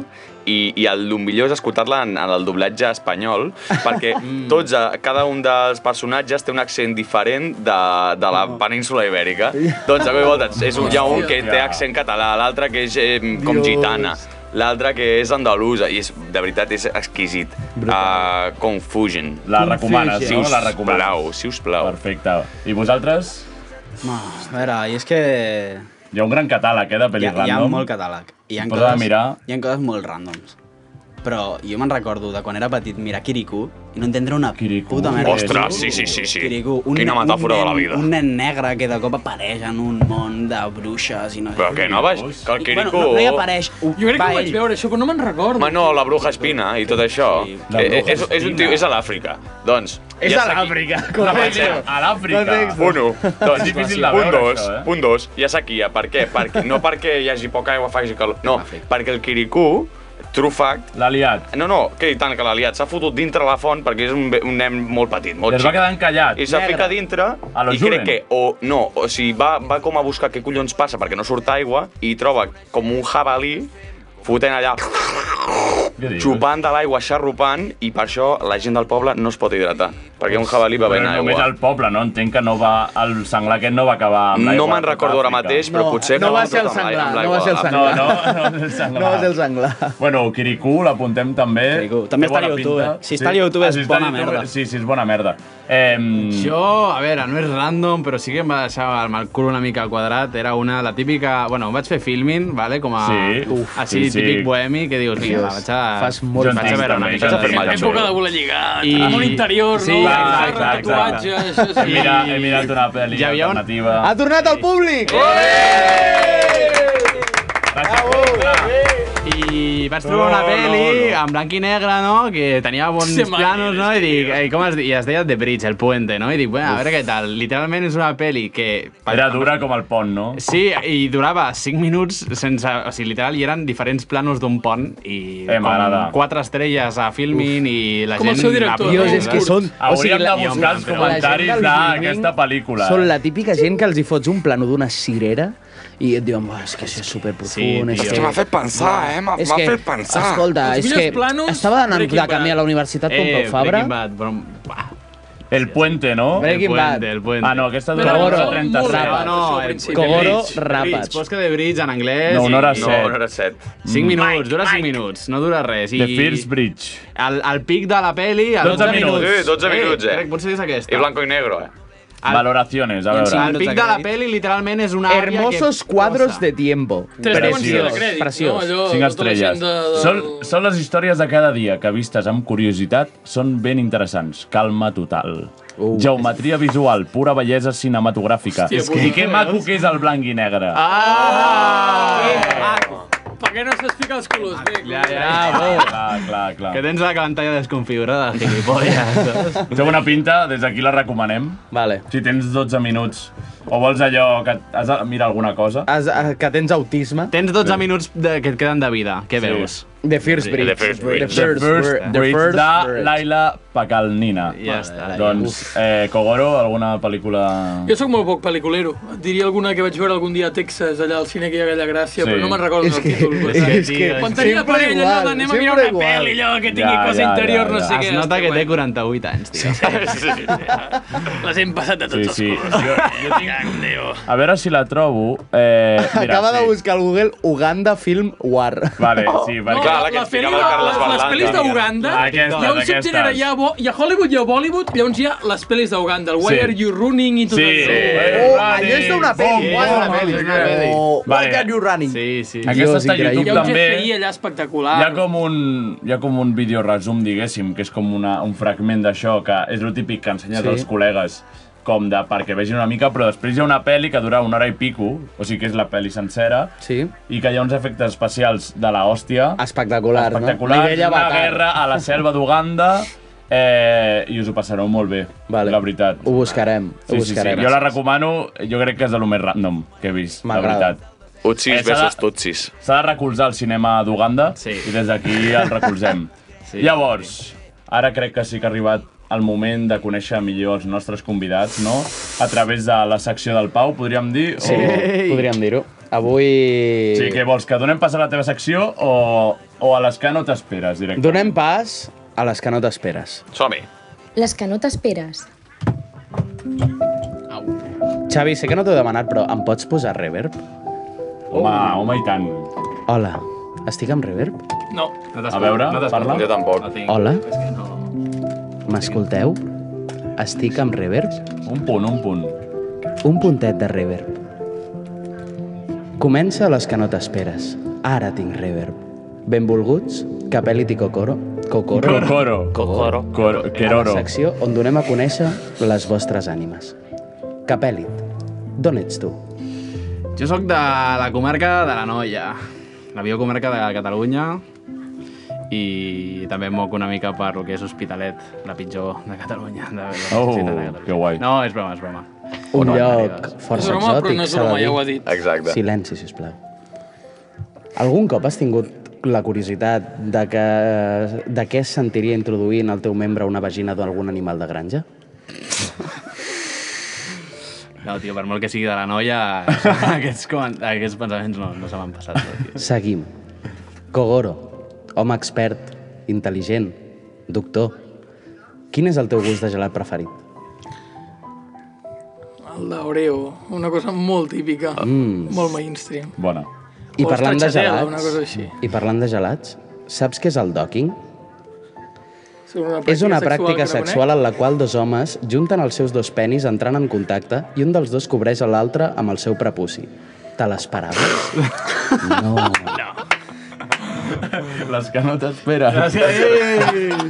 Speaker 9: i, i el, el millor és escoltar-la en, en el doblatge espanyol, perquè tots, eh, cada un dels personatges té un accent diferent de, de la península ibèrica. doncs, a mi volta, és un, hi ha un que té accent català, l'altre que és eh, com gitana, l'altre que és andalusa, i és, de veritat és exquisit. Uh, Confusion.
Speaker 3: La recomanes,
Speaker 9: Si
Speaker 3: no?
Speaker 9: us
Speaker 3: La recomanes.
Speaker 9: plau, si us plau.
Speaker 3: Perfecte. I vosaltres?
Speaker 11: Ma, a veure, i és que
Speaker 3: Hi ha un gran catàleg, eh, de
Speaker 11: hi
Speaker 3: pel·lis
Speaker 11: ha, hi ha
Speaker 3: random.
Speaker 11: molt catàleg. Hi ha,
Speaker 3: Posa a
Speaker 11: coses,
Speaker 3: mirar.
Speaker 11: hi ha coses molt randoms. Però jo me'n recordo de quan era petit mirar Kirikou i no entendre una
Speaker 3: Kirikou.
Speaker 11: puta merda.
Speaker 9: Ostres, sí, sí, sí, sí.
Speaker 11: Kirikou, un
Speaker 9: Quina
Speaker 11: nen-
Speaker 9: metàfora
Speaker 11: un
Speaker 9: de la
Speaker 11: nen-
Speaker 9: vida.
Speaker 11: Un nen negre que de cop apareix en un món de bruixes i no sé
Speaker 9: Però que no vaig... Que el
Speaker 11: I,
Speaker 9: Quirico...
Speaker 11: Bueno, no, no hi apareix. Ho-
Speaker 10: Jo crec que
Speaker 11: va
Speaker 10: ho vaig
Speaker 11: ell.
Speaker 10: veure, això, però no me'n recordo.
Speaker 9: Manó, la bruja espina i tot això.
Speaker 3: La
Speaker 9: Eh, eh,
Speaker 3: bruja
Speaker 9: és, és un tio, és a l'Àfrica. Doncs...
Speaker 8: És
Speaker 9: ja
Speaker 8: a
Speaker 9: s'ha-
Speaker 8: l'Àfrica,
Speaker 3: La
Speaker 8: correcte.
Speaker 3: pel·lícula A l'Àfrica.
Speaker 8: Context.
Speaker 9: Un, un. Doncs,
Speaker 3: És difícil de veure,
Speaker 9: un, dos,
Speaker 3: això, eh?
Speaker 9: un, dos, ja s'aquia. Per què? Perquè, no perquè hi hagi poca aigua, faci calor. No, perquè el Quiricú, true fact,
Speaker 3: L'ha liat.
Speaker 9: no, no, que i tant que l'ha liat, s'ha fotut dintre la font perquè és un, be- un nen molt petit, molt
Speaker 3: Es va
Speaker 9: xic.
Speaker 3: quedar encallat.
Speaker 9: I se
Speaker 8: Negre.
Speaker 9: fica dintre
Speaker 3: A lo
Speaker 9: i crec
Speaker 3: Julen.
Speaker 9: que o no, o sigui, va, va com a buscar què collons passa perquè no surt aigua i troba com un jabalí fotent allà,
Speaker 3: Què dius?
Speaker 9: xupant de l'aigua, xarrupant, i per això la gent del poble no es pot hidratar, perquè un jabalí va
Speaker 3: Però
Speaker 9: bevent
Speaker 3: només
Speaker 9: aigua.
Speaker 3: al poble, no? Entenc que no va... El senglar aquest no va acabar amb l'aigua.
Speaker 9: No me'n
Speaker 3: de
Speaker 9: recordo ara
Speaker 3: Àfrica.
Speaker 9: mateix, però
Speaker 8: No,
Speaker 9: potser...
Speaker 8: no va ser el
Speaker 9: amb l'aigua-
Speaker 8: senglar,
Speaker 9: amb
Speaker 8: no va
Speaker 9: l'aigua
Speaker 8: ser el
Speaker 9: de-
Speaker 8: senglar.
Speaker 3: No, no, no és el senglar.
Speaker 8: No és el senglar.
Speaker 3: Bueno, Kirikou l'apuntem també.
Speaker 11: Kirikou. També
Speaker 3: Té
Speaker 11: està a
Speaker 3: bona
Speaker 11: YouTube,
Speaker 3: pinta. Ah,
Speaker 11: eh? Si està a YouTube és
Speaker 3: si està a
Speaker 11: bona merda.
Speaker 3: Sí, sí, és bona merda. Eh,
Speaker 7: Jo, a veure, no és random, però sí que em va deixar amb el cul una mica al quadrat. Era una, la típica... Bueno, em vaig fer filming, vale? com a...
Speaker 3: Sí. Uf,
Speaker 7: així,
Speaker 3: sí, sí.
Speaker 7: típic bohemi, que dius, vinga, va,
Speaker 8: Dios,
Speaker 7: vaig a...
Speaker 8: fas molt
Speaker 7: vaig
Speaker 3: fàcil
Speaker 7: a veure una
Speaker 3: també,
Speaker 7: mica
Speaker 3: això
Speaker 7: de
Speaker 9: fer mal
Speaker 7: film.
Speaker 9: xulo.
Speaker 10: Època de voler lligar,
Speaker 7: I-
Speaker 10: I... molt interior,
Speaker 7: Sí,
Speaker 10: no?
Speaker 3: exacte,
Speaker 10: Barra,
Speaker 3: exacte.
Speaker 10: tatuatges, això
Speaker 3: He,
Speaker 10: sí.
Speaker 3: mirat, he mirat una pel·li
Speaker 7: Hi havia un-
Speaker 3: alternativa.
Speaker 8: Ha tornat al públic!
Speaker 7: I vaig trobar una pel·li en blanc i negre, no?, que tenia bons
Speaker 10: Se
Speaker 7: planos, no?, i dic,
Speaker 10: tio.
Speaker 7: ei, com es, di- i es deia The Bridge, el puente, no?, i dic, bueno, a veure què tal. Literalment és una pel·li que...
Speaker 9: eh.
Speaker 3: Era dura com el pont, no?
Speaker 7: Sí, i durava 5 minuts sense... O sigui, literal, hi eren diferents planos d'un pont i
Speaker 3: Eh, m'agrada.
Speaker 7: 4 estrelles a Filmin i la
Speaker 10: Com el
Speaker 7: gent...
Speaker 10: seu director,
Speaker 8: Dios,
Speaker 10: no?
Speaker 8: és que són...
Speaker 3: Hauríem de
Speaker 8: la-
Speaker 7: i
Speaker 3: buscar
Speaker 7: home,
Speaker 3: els
Speaker 7: però
Speaker 3: comentaris
Speaker 8: la gent del
Speaker 3: d'aquesta
Speaker 8: filming
Speaker 3: pel·lícula.
Speaker 8: Són
Speaker 3: eh?
Speaker 8: la típica gent que els hi fots un plano d'una cirera i et diuen, "Buah, és que això és superprofund,
Speaker 7: Sí,
Speaker 8: és
Speaker 7: tio.
Speaker 8: que...
Speaker 7: M'ha
Speaker 12: fet pensar, eh? M'ha
Speaker 8: És que, escolta,
Speaker 10: Els
Speaker 8: és
Speaker 10: millors
Speaker 8: que
Speaker 10: planos,
Speaker 8: estava anant
Speaker 10: Breaking
Speaker 8: de camí
Speaker 10: Bad.
Speaker 8: a la universitat com Pau Fabra.
Speaker 7: Breaking Bad, però... Bah,
Speaker 3: El puente, no?
Speaker 8: Breaking
Speaker 7: el
Speaker 8: Bad.
Speaker 7: puente, el puente.
Speaker 3: Ah, no, aquesta
Speaker 10: Però
Speaker 3: dura
Speaker 8: Cogoro,
Speaker 3: una hora
Speaker 10: molt
Speaker 3: 37.
Speaker 8: ràpid.
Speaker 7: No, no,
Speaker 10: Això,
Speaker 7: el
Speaker 10: principi.
Speaker 8: Cogoro,
Speaker 7: The Bridge,
Speaker 8: ràpats.
Speaker 7: Posca de Bridge en anglès.
Speaker 3: No, una hora
Speaker 7: i-
Speaker 9: No,
Speaker 3: set.
Speaker 9: una hora set.
Speaker 7: 5
Speaker 3: Mm.
Speaker 7: minuts, dura 5 minuts, no dura res. I
Speaker 3: The First Bridge.
Speaker 7: El, el pic de la peli... el
Speaker 3: 12 minuts.
Speaker 9: Eh, 12 minuts, eh?
Speaker 7: crec- Potser és aquesta.
Speaker 9: I blanco i negro, eh?
Speaker 7: El-
Speaker 3: Valoraciones,
Speaker 11: I
Speaker 3: a
Speaker 11: en
Speaker 3: veure.
Speaker 11: cinc
Speaker 7: El pic de la peli literalment és una àvia
Speaker 8: Hermosos
Speaker 7: que...
Speaker 8: cuadros de tiempo.
Speaker 10: Tres dimensions de
Speaker 3: Preciós,
Speaker 10: crèdit,
Speaker 8: preciós.
Speaker 10: no? Allò,
Speaker 3: Cinc
Speaker 10: tota la gent
Speaker 3: estrelles.
Speaker 10: De, del-
Speaker 3: Són, són les històries de cada dia que, vistes amb curiositat, són ben interessants. Calma total. Uh. Geometria visual, pura bellesa cinematogràfica.
Speaker 10: Hòstia,
Speaker 3: I que maco que és el blanc i negre. Ah.
Speaker 7: Ah!
Speaker 10: Ah, Per què no s'explica els colors? Bé,
Speaker 7: Ja, ja, ja,
Speaker 10: bé.
Speaker 7: bo.
Speaker 3: Clar, clar, clar.
Speaker 7: Que tens la pantalla desconfigurada, gilipolles.
Speaker 3: Té bona pinta, des d'aquí la recomanem.
Speaker 8: Vale.
Speaker 3: Si tens 12 minuts o vols allò que et- has de mirar alguna cosa.
Speaker 7: Ah,
Speaker 8: Has, eh, que tens autisme.
Speaker 7: Tens 12 sí. minuts de, que et queden de vida. Què
Speaker 3: Sí.
Speaker 7: veus?
Speaker 8: The First Bridge.
Speaker 3: The First Bridge.
Speaker 8: The First Bridge. The First
Speaker 3: de
Speaker 8: Bridge.
Speaker 3: Laila Pacalnina.
Speaker 7: Ja està.
Speaker 3: Doncs, eh, Kogoro, alguna pel·lícula...
Speaker 10: Jo sóc molt poc pel·liculero. Et diria alguna que vaig veure algun dia a Texas, allà al cine que hi havia allà a Gràcia,
Speaker 3: Sí.
Speaker 10: però no me'n recordo
Speaker 3: És
Speaker 10: el
Speaker 3: que-
Speaker 10: títol.
Speaker 3: és que,
Speaker 10: Quan
Speaker 3: tio,
Speaker 10: quan tenia
Speaker 3: sempre
Speaker 10: parella allò
Speaker 3: igual,
Speaker 10: de anem a mirar
Speaker 3: sempre
Speaker 10: una
Speaker 3: igual.
Speaker 10: pel·li, allò que tingui
Speaker 3: Ja,
Speaker 10: cosa
Speaker 3: ja, Ah,
Speaker 10: interior, no sé
Speaker 7: Es
Speaker 10: què.
Speaker 7: nota que
Speaker 10: està
Speaker 7: té
Speaker 10: guai.
Speaker 7: 48 anys, tio.
Speaker 10: Sí, sí, sí. Les hem passat de tots
Speaker 3: Sí, sí.
Speaker 10: els colors. oh.
Speaker 3: Jo-
Speaker 10: jo tinc... Déu.
Speaker 3: A veure si la trobo. Eh, mira,
Speaker 8: Acaba
Speaker 3: sí.
Speaker 8: de buscar al Google Uganda Film War.
Speaker 3: Vale, sí, perquè...
Speaker 10: Clar, la que ens picava el Carles Les pel·lis d'Uganda, hi
Speaker 3: Aquestes,
Speaker 10: ha un subgènere, hi ha, bo, hi ha Hollywood, hi ha Bollywood, llavors hi ha les pel·lis d'Uganda, el Why
Speaker 3: Sí.
Speaker 10: Are You Running i tot
Speaker 3: Sí.
Speaker 10: això.
Speaker 3: Oh, Oh,
Speaker 8: Eh,
Speaker 3: allò és d'una
Speaker 8: peli,
Speaker 7: és una peli, és una peli.
Speaker 3: Vale.
Speaker 8: you running?
Speaker 7: Sí, sí.
Speaker 3: Aquesta està a YouTube
Speaker 10: Hi ha un
Speaker 3: també.
Speaker 10: GFI allà espectacular.
Speaker 3: Hi ha com un, hi ha com un vídeo resum, diguéssim, que és com una, un fragment d'això, que és el típic que ensenyes
Speaker 10: Sí.
Speaker 3: als col·legues com de perquè vegin una mica, però després hi ha una pel·li que dura una hora i pico, o sigui que és la pel·li sencera,
Speaker 8: sí.
Speaker 3: i que hi ha uns efectes especials de la hòstia.
Speaker 8: Espectacular, no?
Speaker 3: Espectacular,
Speaker 8: Nivell
Speaker 3: una
Speaker 8: Avatar.
Speaker 3: guerra a la selva d'Uganda, eh, i us ho passareu molt bé, vale. la veritat.
Speaker 8: Ho buscarem, ho
Speaker 3: Sí, sí, sí.
Speaker 8: buscarem.
Speaker 3: Jo la recomano, jo crec que és de lo més random que he vist, la
Speaker 8: M'agrada.
Speaker 3: veritat.
Speaker 9: Utsis
Speaker 3: Eh, s'ha de-
Speaker 9: versus tutsis.
Speaker 3: S'ha de recolzar el cinema d'Uganda sí. i des d'aquí el recolzem. sí, Llavors, ara crec que sí que ha arribat el moment de conèixer millor els nostres convidats, no? A través de la secció del Pau, podríem dir?
Speaker 8: Sí, podríem dir-ho. Avui...
Speaker 3: Oh. Sí, què vols? Que donem pas a la teva secció o, o a les que no t'esperes directament?
Speaker 8: Donem pas a les que no t'esperes.
Speaker 9: Som-hi.
Speaker 6: Les que no t'esperes.
Speaker 8: Xavi, sé que no t'ho he demanat, però em pots posar reverb?
Speaker 3: Home, home i tant.
Speaker 8: Hola, estic amb reverb?
Speaker 10: No.
Speaker 3: A veure, no parla. Ah,
Speaker 9: Jo tampoc.
Speaker 8: Hola? M'escolteu? Estic amb reverb?
Speaker 3: Un punt, un punt.
Speaker 8: Un puntet de reverb. Comença a les que no t'esperes. Ara tinc reverb. Benvolguts, Capeliti Cocoro. Cocoro.
Speaker 3: Cocoro.
Speaker 8: Cocoro.
Speaker 3: Coro. Queroro.
Speaker 8: La secció on donem a conèixer les vostres ànimes. Capèlit, d'on ets tu?
Speaker 7: Jo sóc de la comarca de la Noia, la biocomarca de Catalunya, i també em moc una mica per el que és Hospitalet, la pitjor de Catalunya. De la
Speaker 3: Oh,
Speaker 7: ciutat de Catalunya.
Speaker 3: que guai.
Speaker 7: No, és broma, és broma.
Speaker 8: Un
Speaker 7: no,
Speaker 8: lloc
Speaker 7: És
Speaker 8: força
Speaker 7: broma, però
Speaker 8: exòtic,
Speaker 7: no és
Speaker 8: s'ha de
Speaker 7: broma,
Speaker 8: dir.
Speaker 7: ja ho ha dit. Exacte.
Speaker 8: Silenci, sisplau. Algun cop has tingut la curiositat de, que, de què es sentiria introduir en el teu membre una vagina d'algun animal de granja?
Speaker 7: No, tio, per molt que sigui de la Noia, aquests, comen- aquests pensaments no, no se m'han passat. no, tio.
Speaker 8: Seguim. Kogoro, home expert, intel·ligent, doctor. Quin és el teu gust de gelat preferit?
Speaker 10: El d'Oreo, una cosa molt típica,
Speaker 8: Mm.
Speaker 10: molt mainstream.
Speaker 3: Bona.
Speaker 8: I
Speaker 10: O
Speaker 8: parlant de
Speaker 10: stracciatella, una cosa
Speaker 8: gelats,
Speaker 10: així.
Speaker 8: i parlant de gelats, saps què és el docking?
Speaker 10: És una
Speaker 8: És una pràctica
Speaker 10: que no
Speaker 8: sexual en la qual dos homes junten els seus dos penis entrant en contacte i un dels dos cobreix a l'altre amb el seu prepuci. Te l'esperaves? No.
Speaker 3: Les que no t'esperes.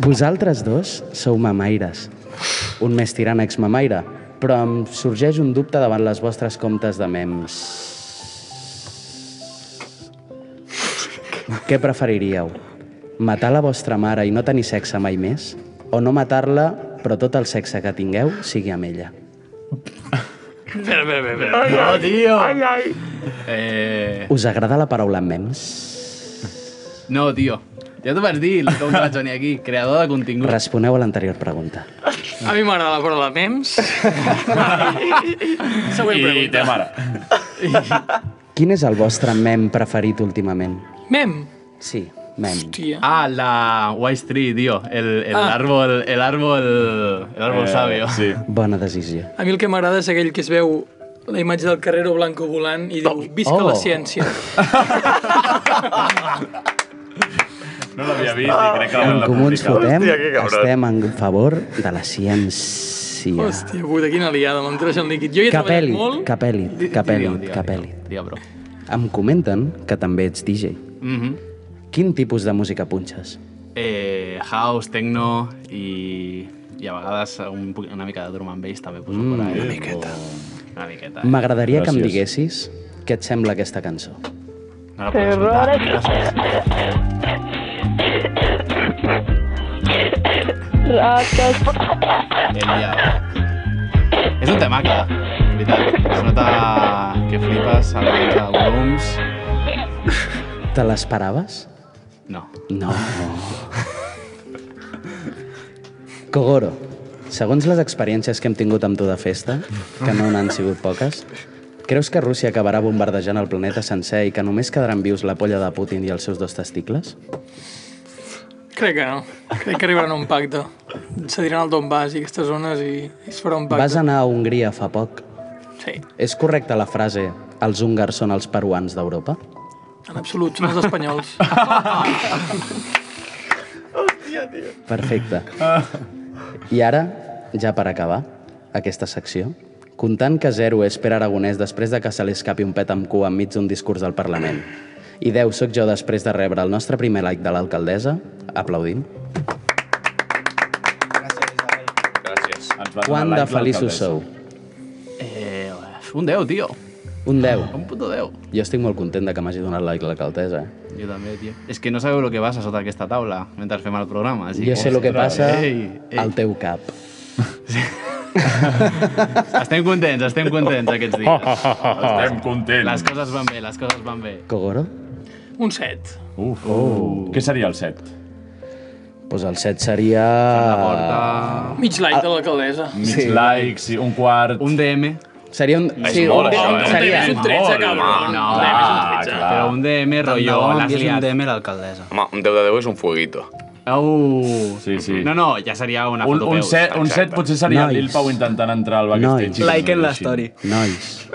Speaker 8: Vosaltres dos sou mamaires. Un més tirant ex-mamaire, però em sorgeix un dubte davant les vostres comptes de memes. Què preferiríeu? Matar la vostra mare i no tenir sexe mai més? O no matar-la, però tot el sexe que tingueu sigui amb ella?
Speaker 7: Espera, espera, espera, espera. No, tio! Ai, ai. Eh,
Speaker 8: Us agrada la paraula memes?
Speaker 7: no, tio. Ja t'ho vaig dir, com que vaig venir aquí, creador de contingut.
Speaker 8: Responeu a l'anterior pregunta.
Speaker 10: A mi m'agrada la paraula memes. Següent pregunta.
Speaker 3: I mare.
Speaker 8: Quin és el vostre mem preferit últimament?
Speaker 10: Mem.
Speaker 8: Sí, mem.
Speaker 10: Hòstia.
Speaker 7: Ah, la Wise Tree, tío. El, el
Speaker 10: Ah.
Speaker 7: árbol, el árbol, el árbol
Speaker 8: Eh,
Speaker 7: sabio.
Speaker 3: Sí.
Speaker 8: Bona decisió.
Speaker 10: A mi el que m'agrada és aquell que es veu la imatge del Carrero Blanco volant i diu visca
Speaker 8: Oh.
Speaker 10: la ciència.
Speaker 3: No l'havia vist i crec que l'hem
Speaker 8: En
Speaker 3: de
Speaker 8: Comuns
Speaker 3: publicar.
Speaker 8: Fotem estem en favor de la ciència.
Speaker 10: Hòstia, puta, quina liada, me'n treix en líquid. Jo hi he treballat
Speaker 8: Capèlit,
Speaker 10: molt.
Speaker 8: capèlit, capèlit, capèlit. Em comenten que també ets DJ.
Speaker 7: Mhm.
Speaker 8: Quin tipus de música punxes?
Speaker 7: eh, house, techno i, i a vegades un, po- una mica de drum and bass també poso
Speaker 8: Mm,
Speaker 7: por ahí.
Speaker 8: una
Speaker 7: miqueta. Una miqueta. eh?
Speaker 8: M'agradaria que em diguessis què et sembla aquesta cançó.
Speaker 7: No la puedo escoltar.
Speaker 12: Errores.
Speaker 7: no la puedo escoltar.
Speaker 12: Rates.
Speaker 7: He liat. És un temaca, de veritat. Es nota que flipes a la mitja de volums.
Speaker 8: Te l'esperaves?
Speaker 7: No.
Speaker 8: No. Kogoro, segons les experiències que hem tingut amb tu de festa, que no n'han sigut poques, creus que Rússia acabarà bombardejant el planeta sencer i que només quedaran vius la polla de Putin i els seus dos testicles?
Speaker 10: Crec que no. Crec que arribaran a un pacte. Cediran el Donbass i aquestes zones i, i es farà un pacte.
Speaker 8: Vas anar a Hongria fa poc.
Speaker 10: Sí,
Speaker 8: És correcta la frase els húngars són els peruans d'Europa?
Speaker 10: en absolut, són els espanyols.
Speaker 8: Perfecte. I ara, ja per acabar aquesta secció, comptant que 0 és Pere Aragonès després de que se li escapi un pet amb cua enmig d'un discurs al Parlament, i 10 sóc jo després de rebre el nostre primer like de l'alcaldessa, aplaudim,
Speaker 9: Gràcies.
Speaker 8: quant de feliços sou?
Speaker 7: Eh, un 10, tio.
Speaker 8: Un 10.
Speaker 7: Un puto 10.
Speaker 8: Jo estic molt content de que m'hagi donat like l'alcaldessa. eh?
Speaker 7: Jo també, tio. És que no sabeu el que passa sota aquesta taula mentre fem el programa. Així
Speaker 8: Jo sé el que passa
Speaker 7: Ei,
Speaker 8: al teu cap.
Speaker 7: estem contents, estem contents aquests dies.
Speaker 3: Estem contents.
Speaker 7: Les coses van bé, les coses van bé.
Speaker 8: Kogoro?
Speaker 10: un set.
Speaker 3: Uf. Oh. Què seria el 7?
Speaker 8: Doncs el 7 seria...
Speaker 10: Mig like de l'alcaldessa.
Speaker 3: Mig sí. like, sí, un quart...
Speaker 7: Un DM.
Speaker 8: Seria un...
Speaker 3: És molt, això, eh?
Speaker 8: seria...
Speaker 10: És un 13,
Speaker 7: No,
Speaker 10: cabrón.
Speaker 7: no, però un
Speaker 10: Un DM és un 13.
Speaker 7: DM, rotllo,
Speaker 11: Tant de bo
Speaker 7: l'has
Speaker 11: envies un
Speaker 7: liat.
Speaker 11: DM a l'alcaldessa.
Speaker 9: Home, un 10 de 10 és un fueguito.
Speaker 7: Au.
Speaker 3: Sí, sí.
Speaker 7: No, no, ja seria una
Speaker 3: Un,
Speaker 7: foto
Speaker 3: un,
Speaker 7: peus.
Speaker 3: set, un set
Speaker 7: Exacte.
Speaker 3: potser seria
Speaker 8: Nois.
Speaker 3: Nois. Lil Pau intentant entrar al backstage.
Speaker 8: Nois.
Speaker 11: Like en la story.
Speaker 8: Nois,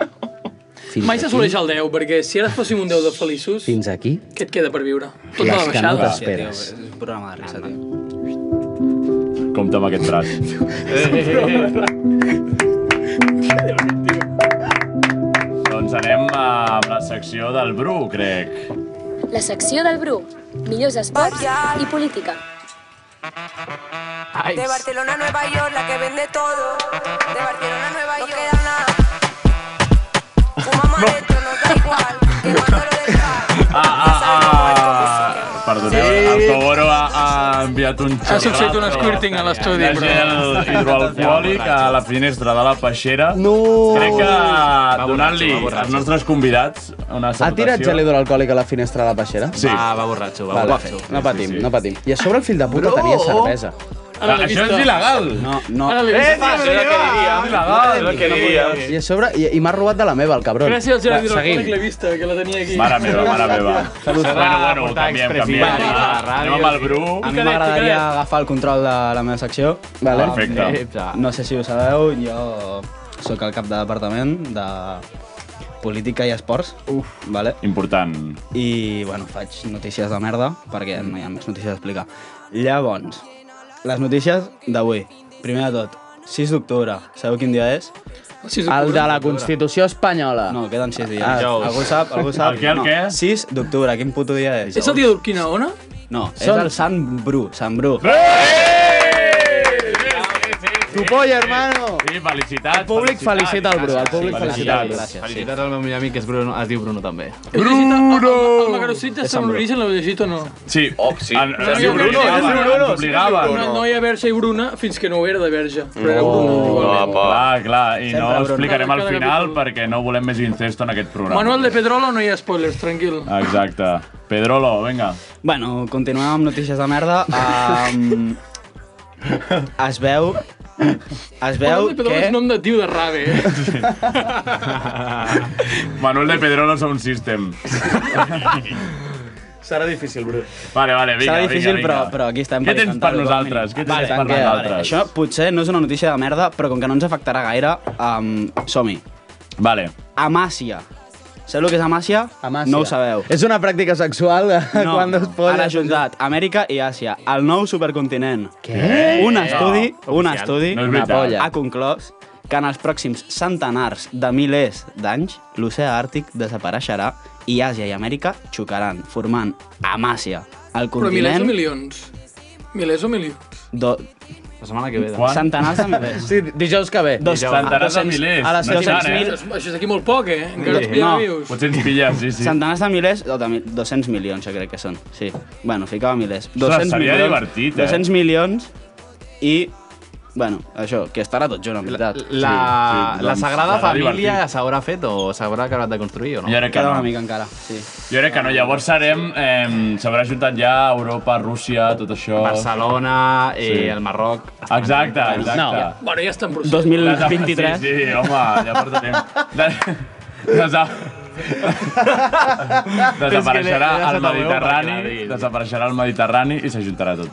Speaker 8: fins
Speaker 10: Mai
Speaker 8: aquí,
Speaker 10: s'assoleix el 10, perquè si ara fóssim un 10 de feliços,
Speaker 8: fins aquí
Speaker 10: què et queda per viure? Tot a la
Speaker 8: les que no
Speaker 10: baixada.
Speaker 8: t'esperes.
Speaker 11: És un programa de risa, tio.
Speaker 3: Compte amb aquest braç. doncs anem a amb la secció del Bru, crec.
Speaker 6: La secció del Bru. Millors esports i política.
Speaker 7: Ai,
Speaker 13: De Barcelona a Nueva York, la que vende todo. De Barcelona a Nueva York. No queda nada. Fumamos adentro, nos da igual. Quemando lo del bar.
Speaker 3: Ah, ah, ah. Perdoneu, el Togoro ha, ha enviat un xerrato.
Speaker 10: Ha succeït un squirting a l'estudi,
Speaker 3: De gel hidroalcohòlic a la finestra de la peixera.
Speaker 8: No!
Speaker 3: Crec que donant-li
Speaker 7: va borratxo.
Speaker 3: als nostres convidats una
Speaker 8: Ha
Speaker 3: salutació...
Speaker 8: tirat gel hidroalcohòlic a la finestra de la peixera?
Speaker 3: Sí.
Speaker 9: Ah,
Speaker 7: Va, va borratxo, va
Speaker 8: Vale,
Speaker 7: borratxo.
Speaker 8: no patim,
Speaker 3: sí, sí.
Speaker 8: no patim. I a sobre el fill de puta tenia cervesa.
Speaker 10: Ara l'he
Speaker 3: això
Speaker 10: vist.
Speaker 3: és il·legal.
Speaker 11: No, no.
Speaker 10: Ara l'he
Speaker 3: Eh, tio,
Speaker 10: vist.
Speaker 3: és el que diria. És il·legal, és el que diria.
Speaker 8: I a sobre... I, i m'ha robat de la meva, el cabron.
Speaker 10: Gràcies al
Speaker 8: Va,
Speaker 10: Gerard Hidroalcohòlic
Speaker 8: Seguim.
Speaker 10: l'he vista, que la tenia aquí.
Speaker 3: Mare meva, mare meva. Bueno, bueno, ho canviem, canviem.
Speaker 7: expressiva.
Speaker 3: Va, Anem amb el Bru.
Speaker 11: A mi
Speaker 10: Picadet,
Speaker 11: m'agradaria
Speaker 10: picadet.
Speaker 11: agafar el control de la meva secció.
Speaker 8: Vale.
Speaker 11: Ah,
Speaker 3: Perfecte.
Speaker 11: eh, No sé si ho sabeu, jo sóc el cap de departament de política i esports. Uf. Vale.
Speaker 3: Important.
Speaker 11: I, bueno, faig notícies de merda, perquè no hi ha més notícies a explicar. Llavors, les notícies d'avui. Primer de tot, 6 d'octubre. Sabeu quin dia és?
Speaker 10: Sí,
Speaker 8: El de la Constitució espanyola.
Speaker 11: No, queden 6 dies.
Speaker 8: Ah, dijous.
Speaker 11: algú sap? Algú sap?
Speaker 3: El què, el
Speaker 11: no.
Speaker 3: què?
Speaker 11: 6 d'octubre, quin puto dia és?
Speaker 10: És el dia d'Urquinaona?
Speaker 11: No, és
Speaker 8: Són-
Speaker 11: el Sant Bru, Sant Bru.
Speaker 8: Tu polla, hermano!
Speaker 3: Sí, felicitats. El
Speaker 8: públic felicita el Bru, el públic felicita el Bru.
Speaker 7: Gràcies. Felicitats al meu millor amic, que és Bruno, es diu Bruno també.
Speaker 10: Bruno! El Magarocit de Sant Origen l'heu llegit o no?
Speaker 3: Sí.
Speaker 9: Oh, sí.
Speaker 3: En,
Speaker 10: És
Speaker 3: es diu Bruno, ¿eh? és Bruno. Ens obligaven.
Speaker 10: Una noia verge i bruna fins que no ho era de verge. Però era Bruno, igualment.
Speaker 9: Guapa.
Speaker 3: Clar, clar, i no
Speaker 11: Bruno.
Speaker 3: explicarem al
Speaker 10: Cada
Speaker 3: final
Speaker 10: capítol.
Speaker 3: perquè no volem més incesto en aquest programa.
Speaker 10: Manuel de Pedrolo no hi ha spoilers, tranquil.
Speaker 3: Exacte. Pedrolo, vinga.
Speaker 11: Bueno, continuem amb notícies de merda. Um, es veu... Es veu
Speaker 10: Manuel de Pedrolo
Speaker 11: que...
Speaker 10: és nom de tio de rave, eh?
Speaker 3: Manuel de Pedrolo Sound System.
Speaker 11: Serà difícil, Bru.
Speaker 3: Vale, vale, vinga,
Speaker 11: Serà difícil,
Speaker 3: vinga,
Speaker 11: però,
Speaker 3: vinga.
Speaker 11: però aquí estem
Speaker 3: Què tens per
Speaker 11: intentar-ho, com a mínim.
Speaker 3: nosaltres? Què tens per nosaltres?
Speaker 11: Això potser no és una notícia de merda, però com que no ens afectarà gaire, um, som-hi.
Speaker 3: Vale.
Speaker 11: Amàcia. Sabeu el que és Amàcia?
Speaker 8: Amàcia.
Speaker 11: No ho sabeu.
Speaker 8: És una pràctica sexual de
Speaker 11: No,
Speaker 8: quan dos polles...
Speaker 11: han ajuntat Amèrica i Àsia, el nou supercontinent.
Speaker 8: Què?
Speaker 11: Un estudi, un estudi
Speaker 3: No és
Speaker 8: Una
Speaker 3: veritat.
Speaker 8: polla.
Speaker 11: ha conclòs que en els pròxims centenars de milers d'anys l'oceà Àrtic desapareixerà i Àsia i Amèrica xocaran, formant Amàcia, el
Speaker 10: Però
Speaker 11: continent...
Speaker 10: milers o milions? Milers o milions?
Speaker 11: Do...
Speaker 9: La setmana que ve. doncs.
Speaker 2: Quan? Sí, dijous que ve.
Speaker 9: Dos- Centenars de milers,
Speaker 8: A les
Speaker 9: no és tant,
Speaker 8: 200.000...
Speaker 10: Això és d'aquí molt poc, eh? Encara
Speaker 8: Sí.
Speaker 10: ens pillen vius.
Speaker 3: Potser ens pillen, sí, sí.
Speaker 8: Centenars de milers, o de mil- 200 milions, jo crec que són. Sí. Bueno, ficava milers.
Speaker 3: Ostres,
Speaker 8: 200
Speaker 3: seria
Speaker 8: milions,
Speaker 3: divertit, eh?
Speaker 8: 200 milions i... Bueno, això, que estarà tot junt, en veritat. doncs,
Speaker 9: La, la Sagrada Família
Speaker 8: Família
Speaker 9: s'haurà fet o s'haurà acabat de construir o no?
Speaker 3: Jo crec que Queda no. una mica
Speaker 8: encara, sí.
Speaker 3: Jo crec que no, llavors serem... Eh, S'haurà juntat ja Europa, Rússia, tot això...
Speaker 9: Barcelona, eh, el Marroc...
Speaker 3: Exacte, exacte.
Speaker 10: Bueno, ja està en procés.
Speaker 3: 2023. Sí, sí, home, ja porta temps. De... Desa... Desapareixerà
Speaker 10: És que he- he deixat
Speaker 3: el
Speaker 10: el meu
Speaker 3: Mediterrani, desapareixerà el Mediterrani i s'ajuntarà tot.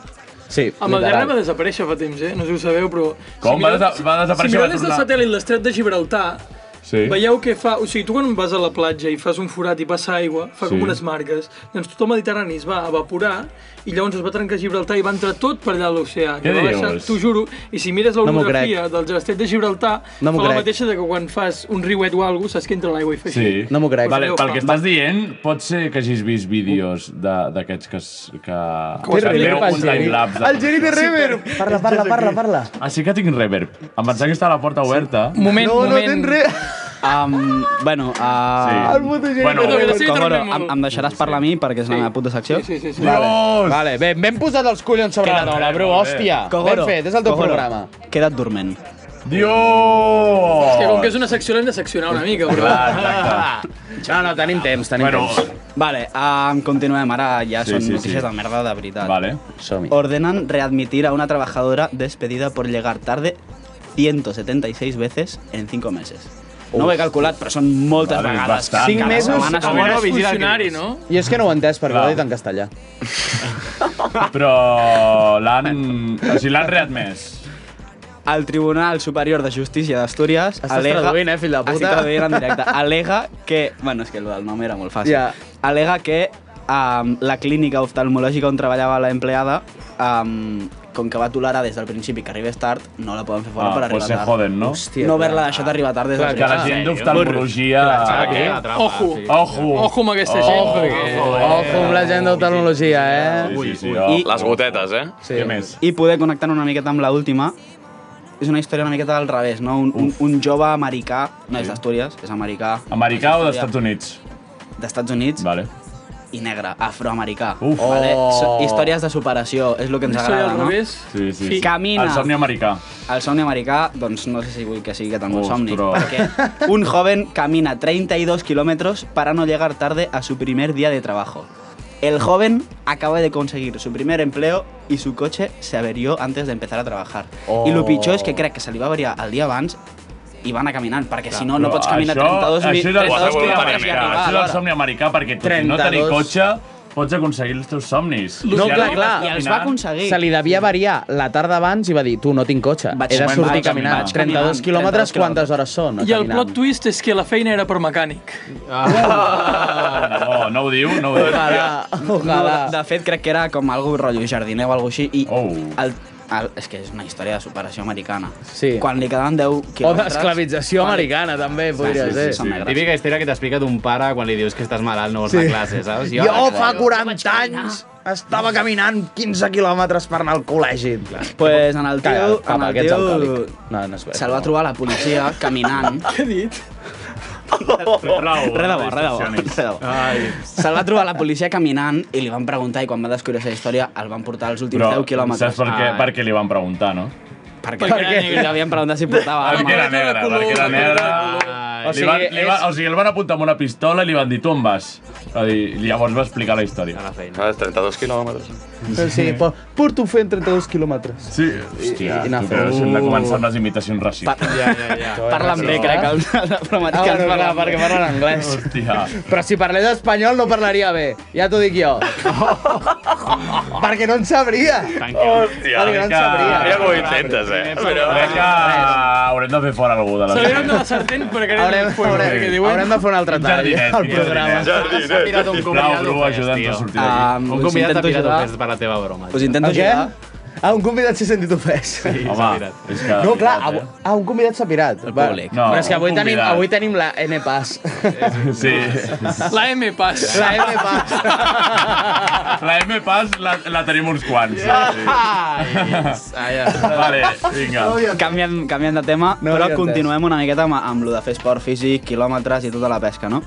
Speaker 2: Sí,
Speaker 10: El Mediterrani va desaparèixer fa temps, eh? No sé si ho sabeu, però...
Speaker 3: Com?
Speaker 10: si
Speaker 3: Va
Speaker 10: mireu-
Speaker 3: desa- va desaparèixer,
Speaker 10: Si
Speaker 3: va
Speaker 10: mireu des del
Speaker 3: tornar.
Speaker 10: satèl·lit l'estret de Gibraltar,
Speaker 3: Sí.
Speaker 10: veieu que fa... O sigui, tu quan vas a la platja i fas un forat i passa aigua, fa
Speaker 3: Sí.
Speaker 10: com unes marques, doncs tot el Mediterrani es va evaporar i llavors es va trencar Gibraltar i va entrar tot per allà a l'oceà.
Speaker 2: Què
Speaker 10: I va
Speaker 2: dius?
Speaker 10: baixar- T'ho juro. I si mires
Speaker 2: No m'ho
Speaker 10: l'orografia no del estret de Gibraltar,
Speaker 2: No m'ho
Speaker 10: fa la
Speaker 2: crec.
Speaker 10: mateixa de que quan fas un riuet o alguna cosa, saps que entra l'aigua i fa així.
Speaker 3: Sí.
Speaker 2: No m'ho crec.
Speaker 3: Vale,
Speaker 10: Déu,
Speaker 3: pel que
Speaker 10: va.
Speaker 3: estàs dient, pot ser que hagis vist vídeos de- d'aquests que... es- que...
Speaker 2: Té
Speaker 3: que
Speaker 2: reverb,
Speaker 3: veu
Speaker 2: el
Speaker 3: un
Speaker 2: Geri.
Speaker 3: timelapse.
Speaker 2: El Geri té reverb. Parla, parla, parla, parla.
Speaker 3: Ah, sí que tinc reverb. Em pensava que estava la porta oberta.
Speaker 8: no, No, tens res. Um, bueno, uh,
Speaker 3: Sí. El puto Geri Bueno, Romero. sí,
Speaker 8: Comoro,
Speaker 3: trobem-ho.
Speaker 8: em, em deixaràs parlar a mi perquè és la meva puta secció? Sí,
Speaker 10: sí, sí.
Speaker 2: Vale, vale ben, ben posat els collons sobre la taula, bro, hòstia. Ben fet, és el teu programa.
Speaker 8: Queda't dorment.
Speaker 3: Dios!
Speaker 10: Hòstia, com que és una secció, l'hem de seccionar una mica, però...
Speaker 2: No, no, tenim temps, tenim
Speaker 8: Bueno,
Speaker 2: temps.
Speaker 8: Vale, um, continuem, ara ja
Speaker 2: Sí,
Speaker 8: sí,
Speaker 2: sí,
Speaker 8: són sí, notícies
Speaker 2: sí.
Speaker 8: sí. de merda de veritat.
Speaker 3: Vale.
Speaker 2: Som-hi.
Speaker 8: Ordenan readmitir a una trabajadora despedida por llegar tarde 176 veces en 5 meses. No ho he calculat, però són moltes
Speaker 2: Vale,
Speaker 8: vegades.
Speaker 2: bastant. Cinc
Speaker 8: Cada
Speaker 2: mesos,
Speaker 8: setmana són
Speaker 2: a veure,
Speaker 8: moltes.
Speaker 2: funcionari,
Speaker 10: no?
Speaker 2: I és que no ho he entès perquè
Speaker 3: Clar.
Speaker 2: ho he dit en castellà.
Speaker 3: Però l'han... O sigui, l'han readmès.
Speaker 8: El Tribunal Superior de Justícia d'Astúries
Speaker 2: Estàs traduint, eh, fill de puta.
Speaker 8: Estic traduint en directe. Alega que... Bueno, és que el del nom era molt fàcil.
Speaker 2: Ja.
Speaker 8: Alega que um, la clínica oftalmològica on treballava la empleada um, com que va tolerar des del principi que arribés tard, no la poden fer fora
Speaker 3: Ah,
Speaker 8: per
Speaker 3: pues
Speaker 8: arribar
Speaker 3: se
Speaker 8: tard.
Speaker 3: joden, no?
Speaker 8: Hòstia, no haver-la deixat arribar tard des
Speaker 3: Clar,
Speaker 2: Ah,
Speaker 8: del
Speaker 3: que la gent d'oftalmologia...
Speaker 7: Ah,
Speaker 10: Ojo,
Speaker 3: Ojo!
Speaker 10: ojo amb aquesta gent,
Speaker 7: Oh.
Speaker 10: perquè...
Speaker 2: Ojo amb la gent d'autonologia, eh?
Speaker 14: Ui,
Speaker 3: sí,
Speaker 8: I-
Speaker 14: Les gotetes, eh?
Speaker 2: Sí. Què més?
Speaker 8: I poder connectar una miqueta amb la última és una història una miqueta al revés, no? Un, un, un jove americà, no és d'Astúries, és americà.
Speaker 3: Americà o
Speaker 8: Astúries.
Speaker 3: d'Estats Units?
Speaker 8: D'Estats Units.
Speaker 3: Vale.
Speaker 8: I negre, afroamericà.
Speaker 3: Uf.
Speaker 8: Vale?
Speaker 3: Oh.
Speaker 8: So- Històries de superació, és el que ens
Speaker 3: Una història
Speaker 8: agrada,
Speaker 3: al
Speaker 8: no?
Speaker 3: revés. Sí, sí, sí.
Speaker 8: Camina.
Speaker 3: El somni americà.
Speaker 8: El somni americà, doncs no sé si vull que sigui que tan bon
Speaker 3: Ostras.
Speaker 8: somni, perquè un joven camina 32 kilómetros para no llegar tarde a su primer día de trabajo. El joven acaba de conseguir su primer empleo y su coche se averió antes de empezar a trabajar.
Speaker 2: Oh.
Speaker 8: I lo pitjor és que crec que se li va averiar el dia abans i va anar caminant, perquè si no, no
Speaker 3: Però
Speaker 8: pots caminar
Speaker 3: això,
Speaker 8: 32 mi-
Speaker 3: Això és el
Speaker 8: 32
Speaker 3: somni
Speaker 8: quilòmetres i
Speaker 3: americà.
Speaker 8: arribar.
Speaker 3: Això és el
Speaker 8: alhora.
Speaker 3: somni americà, perquè tot i no tenir
Speaker 2: 32.
Speaker 3: cotxe, pots aconseguir els teus somnis.
Speaker 2: No,
Speaker 3: Si
Speaker 2: clar,
Speaker 3: arribes
Speaker 2: clar.
Speaker 3: caminant-
Speaker 2: Se li devia variar la tarda abans i va dir, tu, no tinc cotxe.
Speaker 3: Vaig
Speaker 2: He de
Speaker 3: caminant,
Speaker 2: sortir
Speaker 3: vaig
Speaker 2: caminant.
Speaker 3: caminant.
Speaker 2: 32 quilòmetres, quantes hores són?
Speaker 10: I el plot twist és que la feina era per mecànic.
Speaker 3: No, no ho diu, no ho diu.
Speaker 8: No, de, de fet, crec que era com algo rotllo jardiner o algo així. I el, el, és que és una història de superació americana. Sí. Quan li quedaven 10
Speaker 2: O
Speaker 8: quilòmetres...
Speaker 2: d'esclavització
Speaker 8: Vale.
Speaker 2: americana, també, podria ser.
Speaker 9: Típica història que t'explica d'un pare quan li dius que estàs malalt, no vols anar a classe, saps?
Speaker 2: Jo,
Speaker 3: oh,
Speaker 2: fa 40 anys estava caminant 15 quilòmetres per anar al col·legi.
Speaker 8: Pues en el
Speaker 2: Calla,
Speaker 8: tio, en
Speaker 2: papa,
Speaker 8: el
Speaker 2: que ets
Speaker 8: tio
Speaker 2: alcohòlic. no, no és veritat.
Speaker 8: se'l va trobar la policia caminant.
Speaker 10: Què he dit?
Speaker 8: Re de bo, re de bo. re de bo. Se'l va trobar la policia caminant i li van preguntar i quan va descobrir la història el van portar els últims
Speaker 3: Però
Speaker 8: 10 quilòmetres.
Speaker 3: saps per què,
Speaker 8: Ah,
Speaker 3: per què li van preguntar, no?
Speaker 8: perquè, perquè, li havien preguntat si portava
Speaker 9: Ah,
Speaker 3: Perquè era negre, perquè era negre. O sigui, li van, li van, o sigui, el van apuntar amb una pistola i li van dir, tu on vas? Va dir, i llavors va explicar la història. A
Speaker 9: la feina.
Speaker 14: Ah, 32 quilòmetres.
Speaker 2: Sí, po- porto fent 32 quilòmetres.
Speaker 3: Sí, hòstia,
Speaker 2: I- i anar
Speaker 3: tu
Speaker 2: fent-
Speaker 3: creus? Hem de començar amb les imitacions racistes.
Speaker 9: Ja, ja, ja.
Speaker 8: Parla'm bé, crec, el, el
Speaker 2: Ah,
Speaker 8: afroamericà
Speaker 2: bueno,
Speaker 8: ens
Speaker 2: clar,
Speaker 8: parla
Speaker 2: perquè parlen anglès.
Speaker 3: Hòstia.
Speaker 2: Però si parlés espanyol no parlaria bé, ja t'ho dic jo. perquè no en sabria.
Speaker 14: Hòstia,
Speaker 2: Perquè no en sabria.
Speaker 14: mira com ho intentes, eh? Però...
Speaker 3: Crec que haurem de fer fora algú de la
Speaker 10: S'havien de la sertent per que
Speaker 2: Haurem,
Speaker 10: anés fuego.
Speaker 2: haurem,
Speaker 10: que diuen...
Speaker 2: haurem de fer un altre tall
Speaker 3: jardinet,
Speaker 2: al
Speaker 3: quin
Speaker 2: programa.
Speaker 3: jardinet.
Speaker 2: S'ha pirat un
Speaker 3: Sisplau,
Speaker 2: convidat
Speaker 3: Bru,
Speaker 2: ofès,
Speaker 3: ajuda'ns a
Speaker 2: tio. Ah.
Speaker 3: sortir d'aquí.
Speaker 8: Um,
Speaker 9: Un
Speaker 8: us
Speaker 9: convidat
Speaker 8: intento
Speaker 9: t'ha pirat
Speaker 8: ajudar.
Speaker 9: ofès per la teva broma.
Speaker 8: Us intento
Speaker 2: El què?
Speaker 8: ajudar. Ah, un convidat s'ha sentit ofès. Sí,
Speaker 3: Home, s'ha pirat. és que-
Speaker 8: no, clar, avu- ah, un convidat s'ha pirat. El
Speaker 3: públic. No,
Speaker 8: Però és que avui
Speaker 3: un
Speaker 8: tenim,
Speaker 3: convidat.
Speaker 8: avui tenim la N-Pass.
Speaker 3: Sí.
Speaker 10: La M passa.
Speaker 8: La M passa.
Speaker 3: La M pas la, la tenim uns quants. Sí. Vale, vinga.
Speaker 11: Canviem, canviem de tema,
Speaker 3: No
Speaker 11: no però
Speaker 3: havia entès.
Speaker 11: continuem una miqueta amb, amb lo de fer esport físic, quilòmetres i tota la pesca, no?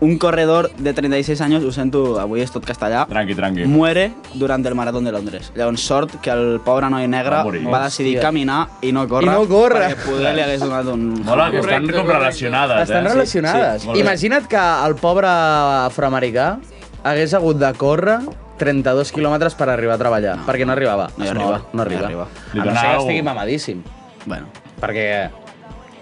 Speaker 11: Un corredor de 36 anys, ho sento, avui és tot castellà,
Speaker 3: tranqui, tranqui.
Speaker 11: muere durant el Marató de Londres. Llavors, sort que el pobre noi negre
Speaker 3: Va
Speaker 11: va,
Speaker 3: morir.
Speaker 11: decidir
Speaker 3: Hòstia.
Speaker 11: caminar i no córrer.
Speaker 8: I no córrer.
Speaker 11: Perquè poder li hagués donat un...
Speaker 3: Mola que estan com relacionades,
Speaker 8: Estan
Speaker 3: eh?
Speaker 8: relacionades.
Speaker 3: molt bé.
Speaker 8: Imagina't que el pobre afroamericà hagués hagut de córrer 32 quilòmetres per arribar a treballar, perquè no arribava.
Speaker 11: No hi
Speaker 8: Es
Speaker 11: arriba,
Speaker 8: mor,
Speaker 11: no
Speaker 8: No
Speaker 11: hi
Speaker 8: arriba.
Speaker 11: arriba.
Speaker 8: A
Speaker 11: Li
Speaker 8: no ser
Speaker 11: donava
Speaker 8: que
Speaker 11: un-
Speaker 8: estigui mamadíssim.
Speaker 11: Bueno.
Speaker 8: Perquè...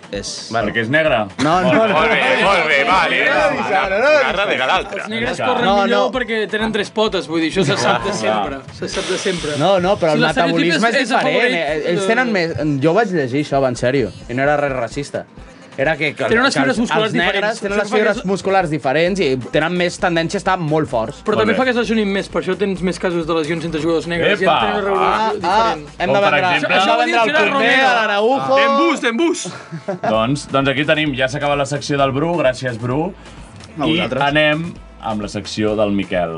Speaker 11: És...
Speaker 8: Bueno.
Speaker 3: Perquè és negre?
Speaker 8: No, no, no.
Speaker 9: Molt bé, molt bé, vale. Una darrere l'altra.
Speaker 10: Els negres corren
Speaker 8: No,
Speaker 10: millor
Speaker 8: no.
Speaker 10: perquè tenen tres potes, vull dir, això se sap de sempre. Se sap de sempre.
Speaker 8: No, no, però
Speaker 10: Si
Speaker 8: el
Speaker 10: l'estereotip
Speaker 8: metabolisme és, diferent.
Speaker 10: afavorit,
Speaker 8: eh? Ells tenen més... Jo vaig llegir això, va, en sèrio. I no era res racista. Era que, que,
Speaker 10: Tenen unes
Speaker 8: que
Speaker 10: fibres
Speaker 8: els,
Speaker 10: musculars
Speaker 8: els negres
Speaker 10: diferents.
Speaker 8: tenen
Speaker 10: Això
Speaker 8: les
Speaker 10: fa que
Speaker 8: fibres
Speaker 10: és-
Speaker 8: musculars diferents i tenen més tendència a estar molt forts.
Speaker 10: Però també fa que es lesionin més, per això tens més casos de lesions entre jugadors negres.
Speaker 8: Epa!
Speaker 10: Ja tenen una regulació
Speaker 8: Ah,
Speaker 10: diferent.
Speaker 8: ah, hem de Com per vendre- exemple-
Speaker 10: Això,
Speaker 8: hem de
Speaker 10: això va dir el
Speaker 8: vendre el
Speaker 10: Gerard
Speaker 8: Cornet,
Speaker 10: Romero.
Speaker 8: a l'Araujo.
Speaker 10: Ah.
Speaker 9: bus, ten bus!
Speaker 3: Oh! Doncs, doncs aquí tenim, ja s'acaba la secció del Bru, gràcies Bru.
Speaker 7: A
Speaker 3: I
Speaker 7: vosaltres.
Speaker 3: anem amb la secció del Miquel.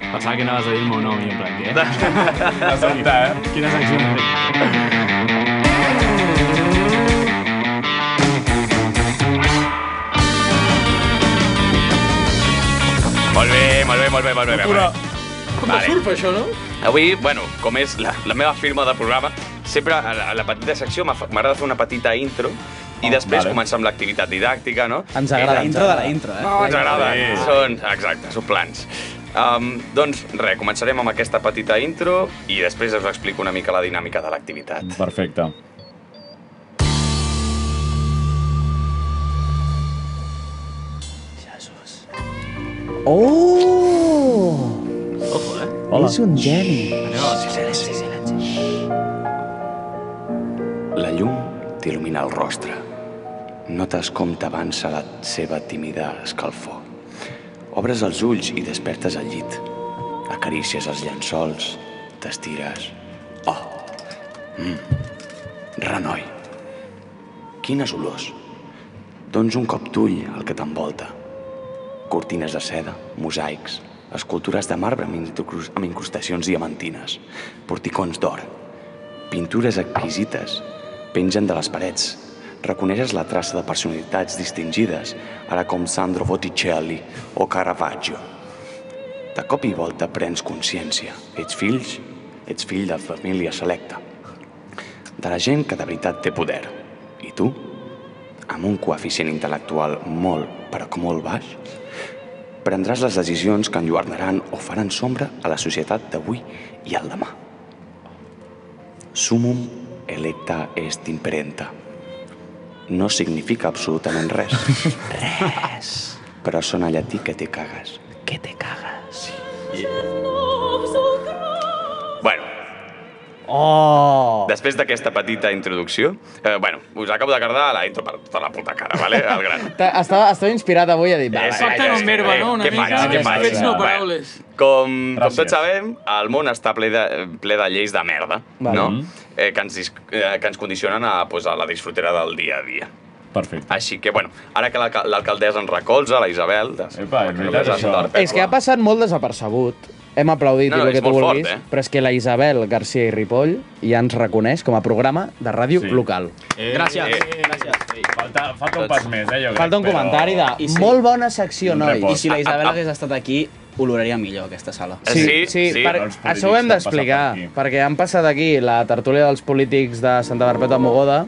Speaker 7: Pensava que anaves a dir el meu nom i en plan, què?
Speaker 3: De sobte, eh?
Speaker 7: Quina secció hem
Speaker 9: Molt bé, molt bé, molt bé, molt bé. Molt bé.
Speaker 10: Com de surf, això, no?
Speaker 9: Avui, bueno, com és la, la meva firma de programa, sempre a la, a la petita secció m'ha- m'agrada fer una petita intro i després
Speaker 8: vale.
Speaker 9: començar amb l'activitat didàctica, no?
Speaker 8: Ens agrada,
Speaker 9: I
Speaker 8: ens agrada.
Speaker 9: No, ens
Speaker 8: La
Speaker 9: agrada.
Speaker 8: intro.
Speaker 9: Són, exacte, són plans. Um, doncs res, començarem amb aquesta petita intro i després us explico una mica la dinàmica de l'activitat.
Speaker 3: Perfecte.
Speaker 8: Oh!
Speaker 7: Ojo, eh?
Speaker 8: Hola. És un geni.
Speaker 9: Silenci, silenci. La llum t'il·lumina el rostre. Notes com t'avança la seva tímida escalfor. Obres els ulls i despertes al llit. Acarícies els llençols, t'estires. Oh! Mm. Renoi. Quines olors. Dons un cop d'ull al que t'envolta. Cortines de seda, mosaics, escultures de marbre amb, incrus- amb incrustacions diamantines, porticons d'or, pintures exquisites, pengen de les parets. Reconeixes la traça de personalitats distingides, ara com Sandro Botticelli o Caravaggio. De cop i volta prens consciència. Ets fills, ets fill de família selecta. De la gent que de veritat té poder. I tu, amb un coeficient intel·lectual molt, però que molt baix, prendràs les decisions que enlluernaran o faran sombra a la societat d'avui i al demà. Sumum electa est imperenta. No significa absolutament res. res. Però sona llatí que te cagues. Que te cagues. Sí. Bueno,
Speaker 8: Oh!
Speaker 9: Després d'aquesta petita introducció, eh, bueno, us acabo de cardar la intro per tota la puta cara, vale? El gran.
Speaker 8: Ta- Estava, estava inspirat avui a dir... Va,
Speaker 9: Eh,
Speaker 8: va,
Speaker 9: sí,
Speaker 8: va, va,
Speaker 9: ja
Speaker 8: va,
Speaker 9: sé, eh,
Speaker 8: va,
Speaker 9: què faig, què faig?
Speaker 8: Fets no
Speaker 9: Bueno, Com, com tots sabem, el món està ple de, ple de lleis de merda,
Speaker 8: Vale.
Speaker 9: no?
Speaker 8: Mhm.
Speaker 9: Eh, que, ens, dis- eh, que ens condicionen a, pues, a la disfrutera del dia a dia.
Speaker 3: Perfecte.
Speaker 9: Així que, bueno, ara que l'alca- l'alcaldessa ens recolza, la Isabel... De... Epa, és
Speaker 3: veritat, això.
Speaker 8: És que ha passat molt desapercebut. Hem aplaudit
Speaker 9: No,
Speaker 8: i
Speaker 9: no,
Speaker 8: el que
Speaker 9: és
Speaker 8: tu
Speaker 9: molt fort,
Speaker 8: vulguis,
Speaker 9: eh?
Speaker 8: però és que la Isabel García i Ripoll ja ens reconeix com a programa de ràdio
Speaker 3: Sí.
Speaker 8: local.
Speaker 3: Gràcies. Falta, falta un pas més, eh, jo crec.
Speaker 8: Falta un
Speaker 3: però-
Speaker 8: comentari de... Molt bona secció, nois.
Speaker 11: I si la Isabel hagués estat aquí, oloraria millor aquesta sala.
Speaker 8: Sí, sí, sí per, això ho hem d'explicar, perquè han passat aquí la tertúlia dels polítics de Santa Barpeta Mogoda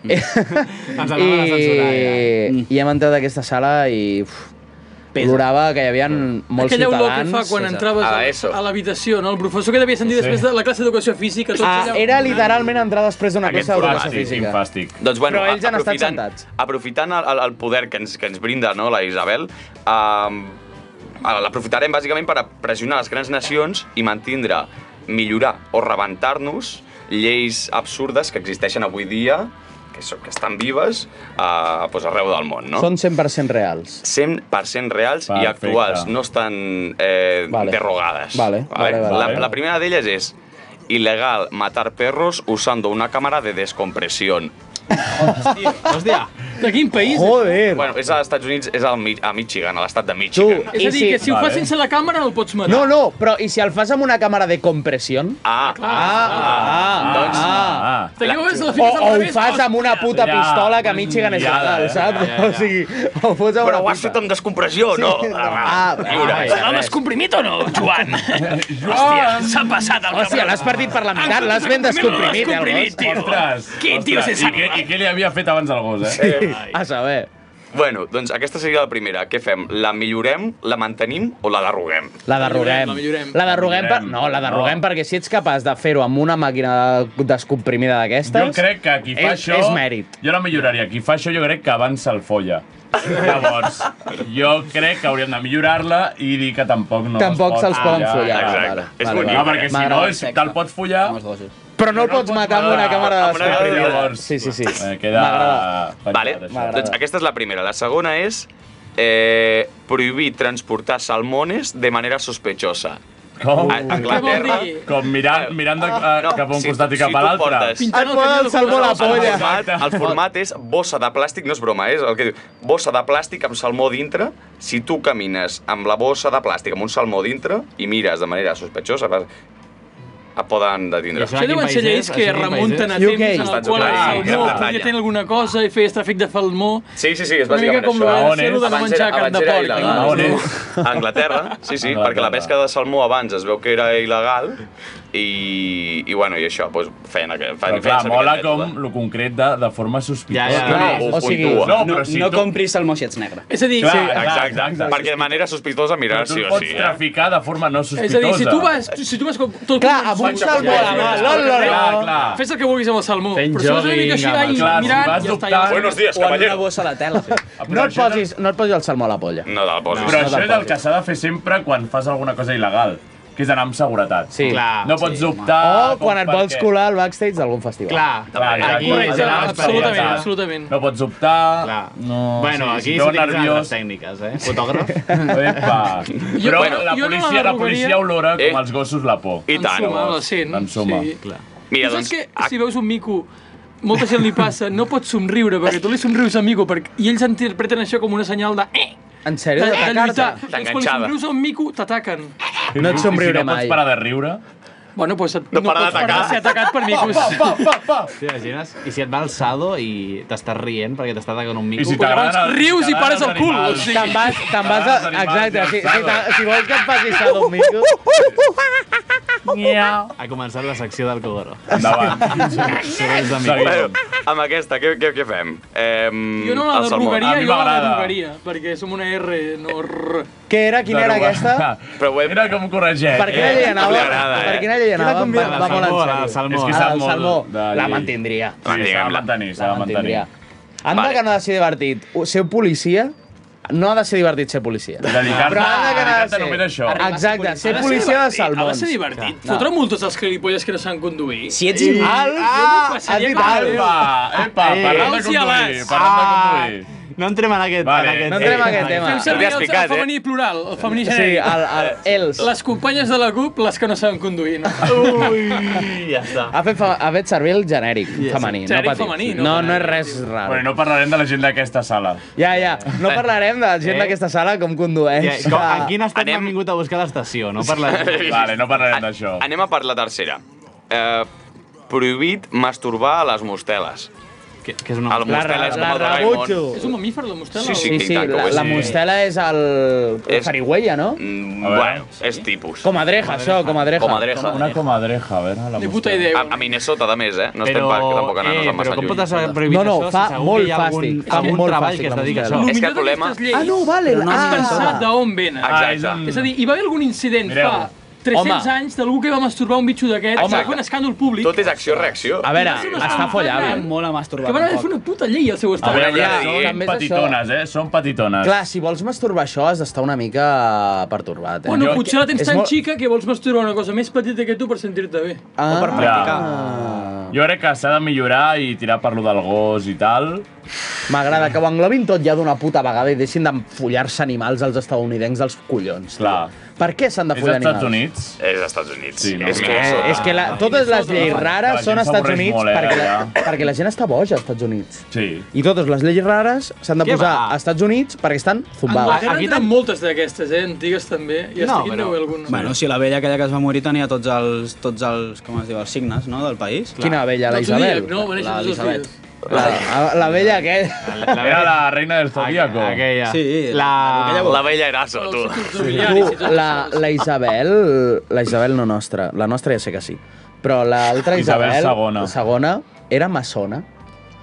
Speaker 7: Mm. Ens
Speaker 8: i,
Speaker 7: anaven a eh? censurar,
Speaker 8: i, hem entrat a aquesta sala i uf, plorava que hi havia molts
Speaker 10: Aquella olor que
Speaker 8: ciutadans.
Speaker 10: fa quan entraves
Speaker 3: Ah,
Speaker 10: a,
Speaker 8: ESO.
Speaker 10: a l'habitació, no? El professor que devia sentir
Speaker 8: Sí.
Speaker 10: després de la classe d'educació física. Tots
Speaker 8: Ah,
Speaker 10: allà...
Speaker 8: era literalment entrar després d'una
Speaker 9: Aquest
Speaker 8: classe d'educació
Speaker 9: format, sí,
Speaker 8: física.
Speaker 3: Fàstic.
Speaker 9: Doncs, bueno,
Speaker 8: Però ells han estat
Speaker 9: aprofitant-
Speaker 8: sentats.
Speaker 9: Aprofitant el, el- el poder que ens, que ens brinda no, la Isabel, um, l'aprofitarem bàsicament per a pressionar les grans nacions i mantindre, millorar o rebentar-nos lleis absurdes que existeixen avui dia, que, so, que estan vives uh, pues arreu del món, no?
Speaker 8: Són 100% reals.
Speaker 9: 100% reals i
Speaker 8: Perfecte.
Speaker 9: actuals, no estan eh,
Speaker 8: Vale.
Speaker 9: derogades.
Speaker 8: Vale, vale, vale.
Speaker 9: la,
Speaker 8: Vale.
Speaker 9: la primera d'elles és ilegal matar perros usando una cámara de descompresión.
Speaker 7: Hòstia,
Speaker 10: de quin país?
Speaker 9: Joder! Bueno, és als Estats Units, és al, Mi- a Michigan, a l'estat de Michigan.
Speaker 10: És a dir, que si ho fas sense la càmera el pots matar.
Speaker 8: No, no, però i si el fas amb una càmera de compressió?
Speaker 9: Ah,
Speaker 8: ah, ah,
Speaker 9: doncs-
Speaker 8: ah,
Speaker 10: Te lleves la
Speaker 8: O,
Speaker 10: fiques al
Speaker 8: o ho
Speaker 10: revés,
Speaker 8: fas amb una puta
Speaker 9: Ja,
Speaker 8: pistola que a Michigan és
Speaker 9: ja,
Speaker 8: legal,
Speaker 9: ja,
Speaker 8: saps?
Speaker 9: ja, ja.
Speaker 8: O sigui, ho fots amb
Speaker 9: Però
Speaker 8: una
Speaker 9: ho has
Speaker 8: puta-
Speaker 9: fet amb descompressió, no?
Speaker 8: Sí,
Speaker 9: Ah,
Speaker 8: no.
Speaker 9: lliure.
Speaker 8: Ah, Serà res.
Speaker 10: descomprimit o no, Joan?
Speaker 9: Hòstia,
Speaker 10: s'ha passat el
Speaker 8: Hòstia, l'has partit per la
Speaker 10: Ah,
Speaker 8: meitat, l'has ben descomprimit, eh, el gos.
Speaker 3: Ostres, ostres, i què, I què li havia fet abans al gos, eh?
Speaker 9: Sí,
Speaker 8: a saber.
Speaker 9: Bueno, doncs aquesta seria la primera. Què fem? La millorem, la mantenim o la derroguem?
Speaker 8: La derroguem. La derroguem, per... no, la derroguem perquè si ets capaç de fer-ho amb una màquina descomprimida d'aquestes...
Speaker 3: Jo crec que qui fa
Speaker 8: és,
Speaker 3: això...
Speaker 8: És mèrit.
Speaker 3: Jo la milloraria. Qui fa això jo crec que avança el folla. Llavors, jo crec que hauríem de millorar-la i dir que tampoc no
Speaker 8: Tampoc
Speaker 3: es pot
Speaker 8: se'ls poden follar.
Speaker 3: Exacte.
Speaker 8: Vale,
Speaker 3: és
Speaker 8: vale,
Speaker 3: bonic.
Speaker 8: vale.
Speaker 3: No, perquè si no,
Speaker 8: M'agrada.
Speaker 3: és, te'l pots follar...
Speaker 8: Però no el pots matar amb una càmera
Speaker 3: Amb una càmera de-
Speaker 8: descomprimida.
Speaker 3: llavors.
Speaker 8: Sí, sí, sí.
Speaker 3: Eh, queda
Speaker 8: M'agrada.
Speaker 3: penjat,
Speaker 9: Vale,
Speaker 3: això.
Speaker 9: doncs aquesta és la primera. La segona és eh, prohibir transportar salmones de manera sospechosa.
Speaker 3: Com?
Speaker 9: A Anglaterra...
Speaker 3: Com mirant, mirant
Speaker 10: Ah,
Speaker 3: de, a, Ah, cap a un
Speaker 9: si
Speaker 3: costat
Speaker 9: tu-
Speaker 3: i cap a
Speaker 9: tu
Speaker 3: l'altre.
Speaker 9: portes- El format, el format és bossa de plàstic, no és broma, és el que diu, bossa de plàstic amb salmó dintre. Si tu camines amb la bossa de plàstic amb un salmó dintre i mires de manera sospechosa, vas- et poden detindre.
Speaker 10: Això deuen ser lleis que remunten a temps en el
Speaker 9: Estats
Speaker 10: qual el
Speaker 9: Units, Gran
Speaker 10: salmó
Speaker 9: Bretanya.
Speaker 10: podia tenir alguna cosa i feies tràfic de salmó.
Speaker 9: Sí, sí, sí, és
Speaker 10: Una mica
Speaker 9: bàsicament
Speaker 10: com
Speaker 9: això.
Speaker 10: lo de- lo de no menjar carn de porc. no?
Speaker 9: A Anglaterra, sí, sí, perquè la pesca de salmó abans es veu que era il·legal i, i bueno, i això, doncs, feien, aqu-
Speaker 3: Però
Speaker 9: feien, feien
Speaker 3: clar,
Speaker 9: servir
Speaker 3: mola
Speaker 9: aquest
Speaker 3: com
Speaker 9: mètode.
Speaker 3: lo concret de, de forma sospitosa.
Speaker 9: no, o sigui,
Speaker 3: no, però si
Speaker 11: no
Speaker 3: tu...
Speaker 11: compris el moixets negre.
Speaker 10: És a dir,
Speaker 3: Clar,
Speaker 9: sí,
Speaker 3: clar,
Speaker 9: exacte,
Speaker 3: exacte.
Speaker 9: perquè de manera sospitosa mirar
Speaker 3: tu
Speaker 9: sí o
Speaker 3: pots
Speaker 9: sí. Eh?
Speaker 3: traficar de forma no
Speaker 10: És
Speaker 3: sospitosa.
Speaker 10: a dir, si tu vas... Si tu vas com, tot
Speaker 8: Clar,
Speaker 10: convençut-
Speaker 8: amb un salmó a la mà,
Speaker 10: Sí,
Speaker 8: la, la, la.
Speaker 10: clar,
Speaker 3: clar.
Speaker 10: Fes el que vulguis amb el salmó.
Speaker 8: Fent
Speaker 10: Però si vas una
Speaker 8: jogging,
Speaker 10: mica així,
Speaker 8: amb el-
Speaker 10: ai,
Speaker 8: clar, si
Speaker 10: mirant,
Speaker 8: vas
Speaker 10: ja està.
Speaker 8: dubtant-
Speaker 10: ja.
Speaker 8: Buenos días,
Speaker 11: O amb
Speaker 8: caballero.
Speaker 11: una bossa de tela.
Speaker 8: No et, posis, no et posis el salmó a la polla.
Speaker 9: No, de la posis.
Speaker 3: Però això és el que s'ha de fer sempre quan fas alguna cosa il·legal, que és anar amb seguretat. Sí.
Speaker 8: Clar,
Speaker 3: no pots dubtar...
Speaker 8: O
Speaker 3: com
Speaker 8: quan et vols
Speaker 3: perquè-
Speaker 8: colar al backstage d'algun festival.
Speaker 3: Clar,
Speaker 7: aquí
Speaker 3: clar,
Speaker 7: és
Speaker 3: clar,
Speaker 7: la-
Speaker 3: absolutament,
Speaker 7: absolutament.
Speaker 3: absolutament. No pots optar... Clar. No,
Speaker 7: Bueno,
Speaker 3: sí,
Speaker 7: aquí
Speaker 3: si
Speaker 7: s'utilitzen
Speaker 3: nerviós...
Speaker 7: altres tècniques, eh? Fotògraf.
Speaker 3: Epa.
Speaker 7: Jo-
Speaker 3: eh, Però
Speaker 7: bueno,
Speaker 3: la
Speaker 7: jo no
Speaker 3: policia,
Speaker 7: la
Speaker 3: la
Speaker 7: derogaria.
Speaker 3: policia olora com els gossos la por.
Speaker 9: I tant. doncs, ah,
Speaker 10: Ensuma, la sent.
Speaker 3: En suma.
Speaker 10: Sí.
Speaker 3: Clar.
Speaker 10: Mira, saps que si veus un mico, molta gent li passa, no pots somriure, perquè tu li somrius a mico, perquè, i ells interpreten això com una senyal de... Eh,
Speaker 8: En sèrio,
Speaker 10: de, de lluitar.
Speaker 8: d'atacar-te?
Speaker 10: Doncs quan li somrius a un mico, t'ataquen.
Speaker 8: No et somriure
Speaker 3: si no
Speaker 8: mai.
Speaker 3: pots parar de riure...
Speaker 10: Bueno, doncs et, no,
Speaker 7: para
Speaker 10: pots parar de
Speaker 7: d'atacar.
Speaker 10: ser atacat per micos.
Speaker 7: T'imagines? I si et va alçado i t'estàs rient perquè t'està atacant un mico?
Speaker 3: I si t'agraden
Speaker 7: Llavors
Speaker 3: els-
Speaker 10: rius i
Speaker 7: t'agraden
Speaker 10: pares
Speaker 7: els
Speaker 10: el cul,
Speaker 7: animals.
Speaker 10: o sigui.
Speaker 8: Te'n vas, te'n vas a... Exacte, si, si, te- si vols que et facis a domingo...
Speaker 7: Ha començat la secció del Kogoro.
Speaker 3: Endavant.
Speaker 7: Segons de mi.
Speaker 9: Bueno, amb aquesta, què, què, què fem? Eh,
Speaker 10: Jo no la
Speaker 9: el salmó.
Speaker 10: derrogaria, jo la derrogaria, perquè som una R, no R.
Speaker 8: Què era? Quina era aquesta?
Speaker 9: Però web...
Speaker 3: Era com corregeix.
Speaker 8: Per quina llei anava?
Speaker 9: Li agrada, eh?
Speaker 8: Per quina llei anava? Va,
Speaker 3: convidada?
Speaker 8: va molt en
Speaker 3: Salmó, la
Speaker 8: sèrio.
Speaker 3: Salmó.
Speaker 8: És que
Speaker 3: Ah,
Speaker 8: Salmó,
Speaker 3: del Salmó.
Speaker 8: de
Speaker 3: La
Speaker 8: llei.
Speaker 3: mantindria.
Speaker 9: La
Speaker 3: Sí, s'ha de
Speaker 9: mantindria.
Speaker 3: mantenir, s'ha de mantenir.
Speaker 8: Anda que no ha de ser divertit. Ser policia no ha de ser divertit ser policia.
Speaker 3: Dedicar-te-
Speaker 8: Però anda que no ha de
Speaker 3: dedicar-te
Speaker 8: ser.
Speaker 3: només a això.
Speaker 8: Exacte, ser
Speaker 10: Ha de
Speaker 8: policia de
Speaker 10: divertit, Ha de
Speaker 8: salmons.
Speaker 10: ser divertit. Fotre multes als gilipolles que no saben conduir.
Speaker 11: Si ets
Speaker 10: Ei,
Speaker 11: imbral-
Speaker 10: jo m'ho
Speaker 11: Ah,
Speaker 10: passaria
Speaker 11: has dit
Speaker 10: com a
Speaker 11: alba.
Speaker 10: Déu.
Speaker 3: Epa,
Speaker 10: Eh,
Speaker 3: parlant de
Speaker 10: els i a
Speaker 3: conduir,
Speaker 10: les.
Speaker 3: parlant de
Speaker 8: Ah.
Speaker 3: conduir.
Speaker 7: No entrem en aquest,
Speaker 3: Vale,
Speaker 7: en aquest
Speaker 3: no entrem en aquest tema.
Speaker 10: Fem
Speaker 3: Ho
Speaker 10: servir
Speaker 3: havies
Speaker 10: el,
Speaker 3: picat,
Speaker 10: el femení plural, el femení
Speaker 8: Sí,
Speaker 10: genèric.
Speaker 8: el- el- els.
Speaker 10: Les companyes de la CUP, les que no saben conduir. No?
Speaker 7: Ui, ja està.
Speaker 8: Ha fet, fa- ha fet servir el genèric femení, no
Speaker 10: Genèric
Speaker 8: patiu.
Speaker 10: femení, no
Speaker 8: no, no és res raro.
Speaker 3: Bueno, no parlarem de la gent d'aquesta sala.
Speaker 8: Ja, ja, no parlarem de gent
Speaker 7: Eh?
Speaker 8: d'aquesta sala com condueix.
Speaker 7: Ja, com,
Speaker 8: a-
Speaker 7: en quin estat Anem... m'han vingut a buscar a l'estació? No parlarem.
Speaker 3: Vale, no parlarem d'això.
Speaker 9: Anem a per la tercera. Eh, prohibit masturbar a les mosteles.
Speaker 7: Que, que és una...
Speaker 9: El mostela és com el Raimon.
Speaker 10: És un mamífer, la mostela?
Speaker 9: Sí, sí,
Speaker 8: Sí,
Speaker 9: i
Speaker 8: sí,
Speaker 9: tant que
Speaker 7: eh,
Speaker 9: ho
Speaker 8: la,
Speaker 9: és.
Speaker 8: la mostela és el...
Speaker 9: És-
Speaker 8: És... Sarigüeya, no?
Speaker 9: Mm, Bueno, és tipus.
Speaker 8: Comadreja, això, comadreja.
Speaker 9: Comadreja.
Speaker 3: Una comadreja, a veure, la mostra.
Speaker 9: A, a Minnesota, de més, eh? No estem
Speaker 7: Però,
Speaker 9: per tampoc anar-nos
Speaker 7: eh,
Speaker 9: a massa
Speaker 7: però com
Speaker 9: lluny.
Speaker 7: pot ser prohibit
Speaker 8: No, no,
Speaker 7: això
Speaker 8: fa
Speaker 7: si segur
Speaker 8: molt
Speaker 7: que hi ha algun,
Speaker 8: fàstic, fa
Speaker 7: algun
Speaker 8: molt
Speaker 7: treball
Speaker 8: fàstic
Speaker 7: que es
Speaker 8: la
Speaker 7: dedica a
Speaker 8: música.
Speaker 7: això?
Speaker 10: El
Speaker 9: És que
Speaker 10: millor
Speaker 9: el problema-
Speaker 10: d'aquestes lleis
Speaker 8: Ah, no, vale,
Speaker 10: però no
Speaker 8: ah.
Speaker 10: has pensat d'on venen.
Speaker 9: Ah, és un-
Speaker 10: És a dir, hi va haver algun incident
Speaker 3: Mireu.
Speaker 10: fa 300
Speaker 8: Home.
Speaker 10: anys d'algú que va masturbar un bitxo d'aquest,
Speaker 9: Home.
Speaker 10: va fer un escàndol públic,
Speaker 9: Tot és acció-reacció.
Speaker 8: A veure,
Speaker 10: ser una
Speaker 8: està eh?
Speaker 10: sala
Speaker 8: follable.
Speaker 10: gran.
Speaker 11: Molt a
Speaker 10: que
Speaker 11: masturbar.
Speaker 10: van haver de
Speaker 11: tampoc.
Speaker 10: fer una puta llei al seu
Speaker 3: A
Speaker 10: estat.
Speaker 3: veure,
Speaker 9: Ja,
Speaker 3: ja,
Speaker 9: eh,
Speaker 3: són
Speaker 8: també és
Speaker 3: petitones, eh? Són petitones.
Speaker 8: Clar, si vols masturbar això has d'estar una mica pertorbat, eh?
Speaker 10: Bueno, potser la tens
Speaker 8: És
Speaker 10: tan
Speaker 8: molt-
Speaker 10: xica que vols masturbar una cosa més petita que tu per sentir-te bé.
Speaker 8: Ah,
Speaker 3: Ja. Jo crec que s'ha de millorar i tirar per lo del gos i tal,
Speaker 8: M'agrada que ho englobin tot ja d'una puta vegada i deixin d'enfollar-se animals als estadounidencs dels collons. Clar. Per què s'han de follar animals?
Speaker 9: És als Estats Units. Sí,
Speaker 8: És que, és que la, totes les lleis rares són als Estats Units
Speaker 9: eh,
Speaker 8: perquè, la, perquè la gent està boja als Estats Units.
Speaker 3: Sí.
Speaker 8: I totes les lleis rares s'han de
Speaker 10: Què
Speaker 8: posar als Estats Units perquè estan zumbades.
Speaker 11: Ah,
Speaker 10: Anglaterra en tenen moltes d'aquestes, eh? Antigues també. I no, aquí no, alguna.
Speaker 11: Bueno, si la vella aquella que es va morir tenia tots els, tots els com es diu, els signes, no?, del país.
Speaker 8: Quina vella, la No t'ho dic, Isabel? no, van néixer
Speaker 11: la
Speaker 8: tots els
Speaker 11: Elisabet.
Speaker 8: La, la vella aquella.
Speaker 3: La Era la reina del Zodíaco.
Speaker 11: aquella. Sí,
Speaker 9: La, la bella Eraso, tu.
Speaker 8: Tu, la, la Isabel... La Isabel no nostra. La nostra ja sé que sí. Però l'altra
Speaker 3: Isabel
Speaker 8: Isabel...
Speaker 3: segona.
Speaker 8: segona. era maçona.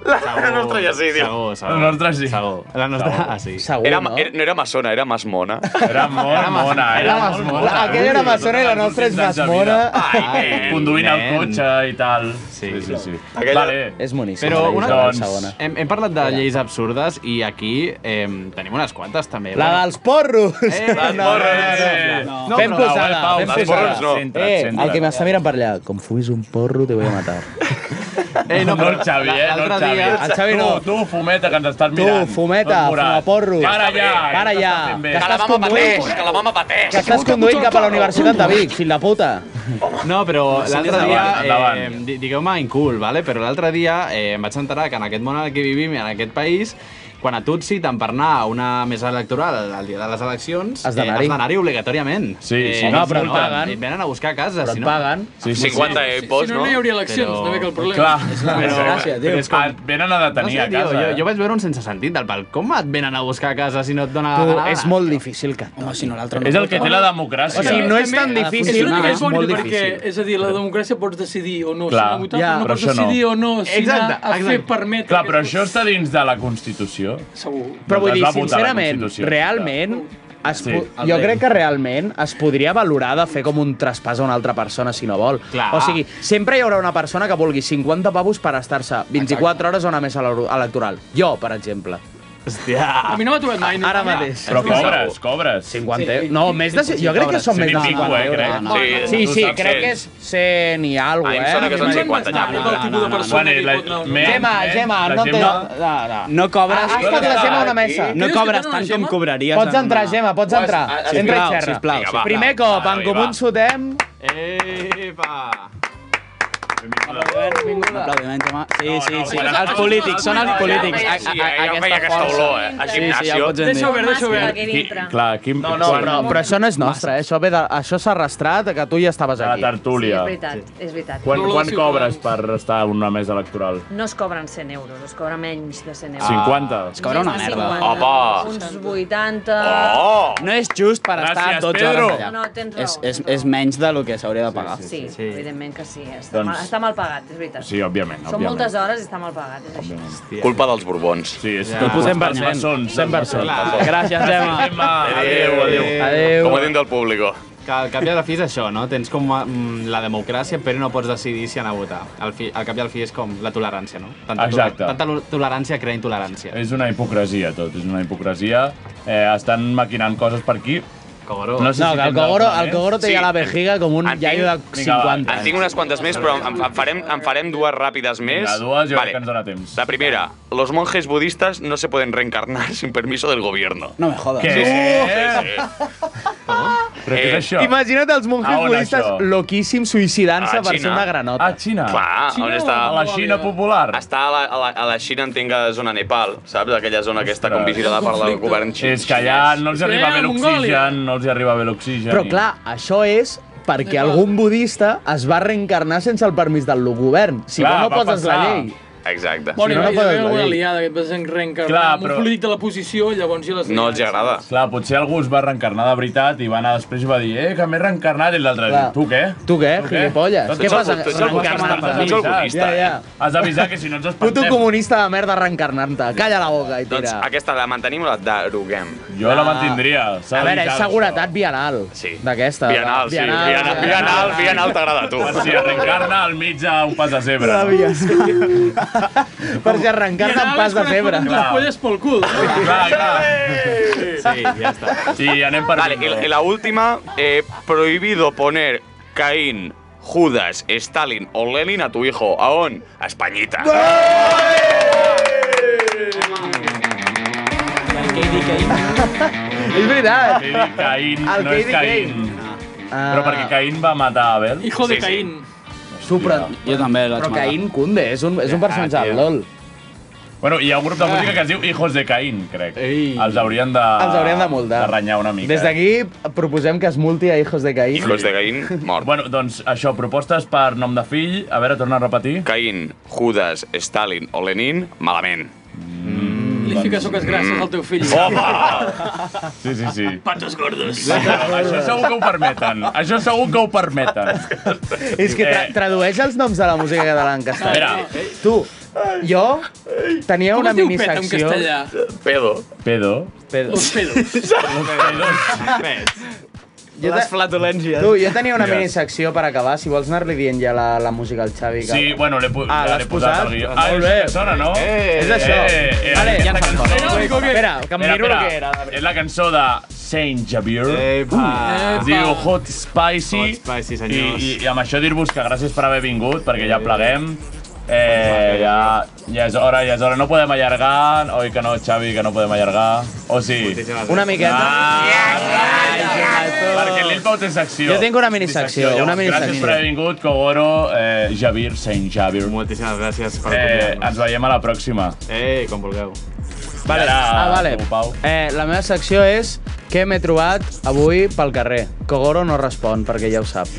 Speaker 9: La nostra ja sí, tio.
Speaker 7: Segur, segur.
Speaker 3: La nostra sí.
Speaker 7: Segur. La nostra, ah, sí.
Speaker 8: Segur,
Speaker 9: Era, ma- era, no era masona, era masmona.
Speaker 3: Era molt mona, era
Speaker 8: Era
Speaker 3: molt
Speaker 8: mas-
Speaker 3: mona.
Speaker 8: la- aquella era
Speaker 3: Ui,
Speaker 8: maçona i la nostra és
Speaker 3: tots els anys de
Speaker 8: masmona.
Speaker 3: vida. Ai, nen, Conduint el
Speaker 7: nen.
Speaker 3: cotxe i tal. Sí, sí, sí. Eh,
Speaker 7: Aquella-
Speaker 3: Vale.
Speaker 8: És boníssima.
Speaker 7: Però
Speaker 8: la
Speaker 7: una,
Speaker 8: Isabel
Speaker 7: doncs,
Speaker 8: segona.
Speaker 7: hem, hem parlat de lleis absurdes i aquí eh, tenim unes quantes també.
Speaker 8: La dels porros!
Speaker 7: Eh, les porres, eh. No,
Speaker 8: fem
Speaker 7: però no,
Speaker 8: posada,
Speaker 7: eh, Pau,
Speaker 8: fem
Speaker 7: les
Speaker 8: posada.
Speaker 7: porres no. Centra't,
Speaker 8: eh,
Speaker 7: centra't.
Speaker 8: el que m'està mirant per allà, com fumis un porro te voy a matar.
Speaker 7: Eh,
Speaker 3: no
Speaker 7: no, però
Speaker 3: el Xavi,
Speaker 7: la-
Speaker 3: eh? No el
Speaker 7: l'altre
Speaker 3: Xavi.
Speaker 7: dia-
Speaker 3: El Xavi no. Tu, tu, fumeta, que ens estàs
Speaker 8: Tu,
Speaker 3: mirant.
Speaker 8: fumeta,
Speaker 3: Tot morat.
Speaker 8: fumaporros.
Speaker 3: Para allà.
Speaker 8: Para allà,
Speaker 3: Que
Speaker 8: que
Speaker 3: estàs
Speaker 8: estàs
Speaker 3: fent bé.
Speaker 8: conduint.
Speaker 9: que la mama pateix.
Speaker 8: Que estàs conduint cap a la Universitat de Vic, fill de puta.
Speaker 7: No, però
Speaker 8: Sí,
Speaker 7: l'altre
Speaker 8: endavant,
Speaker 7: dia, eh,
Speaker 8: endavant.
Speaker 7: di- digueu-me incool, vale? però l'altre dia eh, em vaig enterar que en aquest món en el que vivim, i en aquest país, quan et citen per anar a una mesa electoral el dia de les eleccions, eh,
Speaker 8: Has d'anar-hi.
Speaker 7: has d'anar-hi obligatòriament. Eh,
Speaker 3: Sí, si no, però et paguen.
Speaker 7: Et venen a buscar a casa.
Speaker 8: Però
Speaker 7: si
Speaker 8: et
Speaker 7: no,
Speaker 8: paguen.
Speaker 3: Sí, sí,
Speaker 9: 50
Speaker 7: sí.
Speaker 9: epos,
Speaker 10: Si no, no hi hauria eleccions, no veig el problema.
Speaker 3: Clar.
Speaker 7: És una desgràcia, tio.
Speaker 3: Però és com... Et venen a
Speaker 7: No
Speaker 3: detenir
Speaker 7: sé,
Speaker 3: a
Speaker 7: tio,
Speaker 3: casa.
Speaker 7: jo,
Speaker 3: eh?
Speaker 7: jo vaig veure un sense sentit del pal. Com et venen a buscar a casa si no et dona la
Speaker 8: Tu, eh?
Speaker 7: gana?
Speaker 8: és molt difícil que...
Speaker 11: No, si no l'altre
Speaker 3: És el que té la democràcia.
Speaker 8: O sigui, no és tan
Speaker 10: és
Speaker 8: difícil,
Speaker 10: una
Speaker 8: però
Speaker 10: mica
Speaker 8: és molt
Speaker 10: perquè,
Speaker 8: difícil.
Speaker 10: És a dir, la democràcia pots decidir o no
Speaker 3: Clar.
Speaker 10: si anar a votar,
Speaker 3: Ja,
Speaker 10: però no
Speaker 3: però
Speaker 10: pots
Speaker 3: això no.
Speaker 10: decidir o no si anar a fer permetre...
Speaker 3: Clar,
Speaker 10: que-
Speaker 3: però això està dins de la Constitució.
Speaker 10: Segur.
Speaker 8: Però vull
Speaker 3: Es
Speaker 8: dir,
Speaker 3: va votar la
Speaker 8: sincerament,
Speaker 3: Constitució.
Speaker 8: realment... Es
Speaker 3: Sí.
Speaker 8: po
Speaker 3: El
Speaker 8: jo
Speaker 3: rei.
Speaker 8: crec que realment es podria valorar de fer com un traspàs a una altra persona si no vol.
Speaker 7: Clar.
Speaker 8: O sigui, sempre hi haurà una persona que vulgui 50 pavos per estar-se 24 hores a una mesa eleu- electoral. Jo, per exemple.
Speaker 7: Hòstia.
Speaker 10: A mi no m'ha trobat mai.
Speaker 8: Ara
Speaker 10: no.
Speaker 8: mateix.
Speaker 3: Però cobres, cobres.
Speaker 8: 50 euros. eh? No, més de... ce- Jo crec que són
Speaker 3: Cent
Speaker 8: més
Speaker 3: i
Speaker 8: de
Speaker 3: pico,
Speaker 8: 50
Speaker 3: eh,
Speaker 8: euros.
Speaker 3: crec.
Speaker 8: No, no.
Speaker 3: Sí,
Speaker 8: Sí, sí,
Speaker 3: saps
Speaker 8: crec que és 100 i alguna
Speaker 9: A
Speaker 8: cosa,
Speaker 9: mi em
Speaker 8: eh?
Speaker 9: sona que són
Speaker 8: Imagina't.
Speaker 9: 50 ja.
Speaker 10: No, el tipus de persona
Speaker 3: Quan és
Speaker 10: que
Speaker 3: la...
Speaker 10: pot anar a votar.
Speaker 8: Gemma, Gemma,
Speaker 3: la
Speaker 8: no té...
Speaker 3: Gemma-
Speaker 8: No, no.
Speaker 11: No cobres,
Speaker 8: Has estat la Gemma Ah, a una mesa.
Speaker 11: no
Speaker 10: Creus que
Speaker 11: cobres
Speaker 10: tenen
Speaker 11: tant
Speaker 10: una
Speaker 11: com
Speaker 10: Gemma?
Speaker 11: cobraries.
Speaker 8: Pots entrar, Gemma, pots
Speaker 11: Pues,
Speaker 8: entrar.
Speaker 11: ah, sisplau,
Speaker 8: Entra i xerra.
Speaker 11: sisplau,
Speaker 9: Vinga, va.
Speaker 8: Primer cop, en
Speaker 9: Vinga,
Speaker 8: comú
Speaker 9: va.
Speaker 8: ens fotem.
Speaker 7: Epa!
Speaker 11: Un aplaudiment, home. Sí, sí, sí.
Speaker 9: quan
Speaker 11: Els
Speaker 9: has-
Speaker 11: polítics, són els polítics.
Speaker 9: Sí, sí, ja em feia aquesta olor, eh? A
Speaker 11: Sí, sí, ja ho
Speaker 9: gimnasio.
Speaker 11: pots entendre.
Speaker 10: Deixa obert, deixa obert.
Speaker 3: Qui, clar, Quim...
Speaker 8: No, no, però, però això no és nostre, eh? Això, ve de, això s'ha arrastrat que tu ja estaves
Speaker 3: A la
Speaker 8: aquí.
Speaker 3: tertúlia.
Speaker 12: veritat, és veritat.
Speaker 3: Quan,
Speaker 10: No, no,
Speaker 3: quan
Speaker 10: sí,
Speaker 3: cobres per estar en una mesa electoral?
Speaker 12: No es cobren 100 euros, es cobren menys de 100 euros.
Speaker 3: 50?
Speaker 11: Es cobra una
Speaker 12: Més de
Speaker 11: merda.
Speaker 12: 50,
Speaker 9: Home.
Speaker 12: Uns 80...
Speaker 9: Oh!
Speaker 11: No és just per
Speaker 3: Gràcies,
Speaker 11: estar 12
Speaker 3: Pedro.
Speaker 11: hores allà.
Speaker 12: No, no, tens raó,
Speaker 11: és, és,
Speaker 12: tens raó.
Speaker 11: és menys del que s'hauria de pagar.
Speaker 12: Sí, evidentment que sí. Està,
Speaker 3: Doncs-
Speaker 12: mal, està mal pagat, és veritat.
Speaker 3: Sí, òbviament,
Speaker 12: Són
Speaker 3: òbviament.
Speaker 12: moltes hores i està mal pagat, és així.
Speaker 9: Culpa dels borbons.
Speaker 3: Sí, és
Speaker 7: Ja.
Speaker 3: tot
Speaker 7: Cent
Speaker 3: culpa dels
Speaker 7: per
Speaker 3: maçons. 100%.
Speaker 8: Gràcies, Gemma.
Speaker 3: Gemma, adéu, adéu.
Speaker 8: Adéu.
Speaker 9: Com ho diu del públic.
Speaker 7: Que al cap i a la fi és això, no? Tens com mm, la democràcia, però no pots decidir si anar a votar. Al, fi, al cap i al fi és com la tolerància, no?
Speaker 3: Exacte. Eh,
Speaker 7: toler- tanta lo- tolerància crea intolerància.
Speaker 3: És una hipocresia, tot. És una hipocresia. Eh, estan maquinant coses per aquí.
Speaker 7: Cobró.
Speaker 3: No sé
Speaker 8: No,
Speaker 3: si
Speaker 8: que el
Speaker 3: tindrà
Speaker 8: Cogoro,
Speaker 3: alguna
Speaker 8: el Cogoro té
Speaker 9: Sí.
Speaker 8: ja la vejiga com un
Speaker 9: En tinc-
Speaker 8: iaio de
Speaker 3: Vinga, va.
Speaker 8: 50.
Speaker 9: En tinc unes quantes més, però en, en, farem, en farem dues ràpides més.
Speaker 3: Vinga, dues, jo crec que ens dona temps.
Speaker 9: La primera, los monjes budistas no se pueden reencarnar sin permiso del gobierno.
Speaker 11: No me jodas.
Speaker 3: Què? Però què és
Speaker 9: Eh,
Speaker 3: això?
Speaker 8: Imagina't els monjos
Speaker 3: A Ah, on,
Speaker 8: budistes
Speaker 3: això?
Speaker 8: loquíssims
Speaker 9: A
Speaker 8: suïcidant-se per ser
Speaker 9: Xina.
Speaker 8: una
Speaker 3: A
Speaker 8: granota.
Speaker 3: Ah, Xina.
Speaker 9: Clar, on està?
Speaker 3: A la Xina popular.
Speaker 9: Està a la, a la, a la Xina, entenc que zona Nepal, saps? Aquella zona que està com
Speaker 3: Ostres.
Speaker 9: vigilada per el govern xinès.
Speaker 3: És que allà no els hi
Speaker 10: Sí,
Speaker 3: arriba
Speaker 10: a
Speaker 3: bé
Speaker 10: Mongòlia.
Speaker 3: l'oxigen, no els hi arriba bé l'oxigen.
Speaker 8: Però
Speaker 3: i-
Speaker 8: clar, això és perquè algun budista es va reencarnar sense el permís del govern. Si
Speaker 3: Clar,
Speaker 8: no, no
Speaker 3: va
Speaker 8: poses la
Speaker 3: passar.
Speaker 8: llei.
Speaker 9: Exacte.
Speaker 10: Bueno,
Speaker 8: Si
Speaker 10: si
Speaker 8: no,
Speaker 10: no,
Speaker 8: no
Speaker 10: hi
Speaker 8: poden
Speaker 10: havia alguna
Speaker 8: dir.
Speaker 10: liada que et vas enreencarnar
Speaker 3: Clar,
Speaker 10: amb
Speaker 3: però-
Speaker 10: un polític de la posició, llavors ja les...
Speaker 9: No els hi agrada.
Speaker 3: Clar, potser algú es va reencarnar de veritat i va anar després i va dir eh, que m'he reencarnat i l'altre va dir,
Speaker 8: Clar.
Speaker 3: tu què?
Speaker 8: Tu què, gilipolles?
Speaker 3: Tots
Speaker 8: Doncs Què
Speaker 3: els-
Speaker 8: fas,
Speaker 3: tots els
Speaker 8: reencarnat
Speaker 3: budistes,
Speaker 8: per
Speaker 3: tots els
Speaker 8: mi?
Speaker 9: budistes,
Speaker 8: Ja, ja.
Speaker 3: Has d'avisar que si no ens
Speaker 8: Puto
Speaker 3: espantem.
Speaker 8: comunista de merda reencarnant-te. Calla la boca i
Speaker 9: Doncs
Speaker 8: tira.
Speaker 9: aquesta la mantenim o la deroguem?
Speaker 3: Jo la mantindria. s'ha
Speaker 8: A
Speaker 3: de
Speaker 8: veure,
Speaker 3: dir
Speaker 8: és
Speaker 3: això.
Speaker 8: seguretat vianal.
Speaker 9: Sí.
Speaker 8: D'aquesta.
Speaker 9: Bienal, sí. Bienal, bienal, bienal, bienal t'agrada a tu.
Speaker 3: Per si reencarna al mig a un pas de zebra. no?
Speaker 8: Per si arrencar-te amb pas de febre.
Speaker 10: Les polles pel cul. no?
Speaker 3: Clar, clar.
Speaker 7: Sí, ja està.
Speaker 3: I anem per
Speaker 9: Vale,
Speaker 3: bingo.
Speaker 9: y, y la última, eh, prohibido poner Caín, Judas, Stalin o Lenin a tu hijo. Aón, a Españita.
Speaker 11: Katie Kane.
Speaker 8: és veritat.
Speaker 3: He dit Caín,
Speaker 8: El
Speaker 3: no és
Speaker 8: Katie
Speaker 3: Caín.
Speaker 8: Ah.
Speaker 3: Però perquè Caín va matar a Abel.
Speaker 10: Hijo de Caín.
Speaker 8: Supra... Jo també
Speaker 3: vaig
Speaker 8: Però
Speaker 3: matar.
Speaker 8: Caín Kunde, és un, és un personatge del LOL.
Speaker 3: Ah, Bueno, hi ha un grup de música que es diu Hijos de Caín, crec. Ei. Els haurien de...
Speaker 8: Els haurien de multar.
Speaker 3: De renyar una mica. eh?
Speaker 8: Des d'aquí proposem que es multi a Hijos de Caín.
Speaker 3: Hijos
Speaker 9: de Caín, mort.
Speaker 3: Bueno, doncs això, propostes per nom de fill. A veure, torna a repetir.
Speaker 9: Caín, Judas, Stalin o Lenin, malament.
Speaker 10: Li fiques soques grasses al teu fill.
Speaker 3: Home! Sí, sí, sí.
Speaker 10: Patos gordos.
Speaker 3: Sí, això segur que ho permeten. Això segur que ho permeten. Eh,
Speaker 8: És que tra tradueix els noms de la música catalana en castellà.
Speaker 3: Espera.
Speaker 8: Tu, jo tenia
Speaker 3: Com
Speaker 8: una
Speaker 3: es diu pet en
Speaker 8: minissecció...
Speaker 3: castellà? Pedo. Pedo. Pedo.
Speaker 8: Los
Speaker 10: pedos.
Speaker 3: Los pedos.
Speaker 8: Jo te-
Speaker 11: Les flatulències.
Speaker 8: Tu, jo tenia una
Speaker 3: Yes.
Speaker 8: minissecció per acabar, si vols anar-li dient ja la, la música al Xavi. Que...
Speaker 3: Sí, bueno, l'he pu-
Speaker 8: ah,
Speaker 3: ja
Speaker 8: l'has
Speaker 3: l'he posat al guió. Ah,
Speaker 8: Molt
Speaker 3: és
Speaker 8: bé.
Speaker 3: la que sona, no? Eh,
Speaker 8: és això.
Speaker 3: eh, eh,
Speaker 8: vale,
Speaker 3: aquesta
Speaker 8: ja ens
Speaker 3: cançó.
Speaker 8: falta. Espera, que em
Speaker 3: Espera,
Speaker 8: miro el
Speaker 3: espera.
Speaker 8: que era.
Speaker 3: És la cançó de Saint Javier.
Speaker 8: Epa.
Speaker 3: Es diu Hot Spicy. Hot Spicy,
Speaker 7: senyors.
Speaker 3: I, i, i amb això dir-vos que gràcies per haver vingut, perquè ja pleguem. Eh, ja, ja és hora, ja és hora. No podem allargar. Oi que no, Xavi, que no podem allargar. O sí?
Speaker 8: Una miqueta.
Speaker 3: Ah. Perquè l'Il Pau té secció.
Speaker 8: Jo tinc una minissecció,
Speaker 3: Llavors,
Speaker 8: una
Speaker 3: Gràcies
Speaker 8: minissecció.
Speaker 3: per haver vingut, Kogoro, eh, Javier, Saint Javier. Moltíssimes gràcies per eh, Ens veiem a la pròxima. Eh, com vulgueu.
Speaker 8: Vale. ah, vale. Eh, la meva secció és què m'he trobat avui pel carrer. Kogoro no respon, perquè ja ho sap.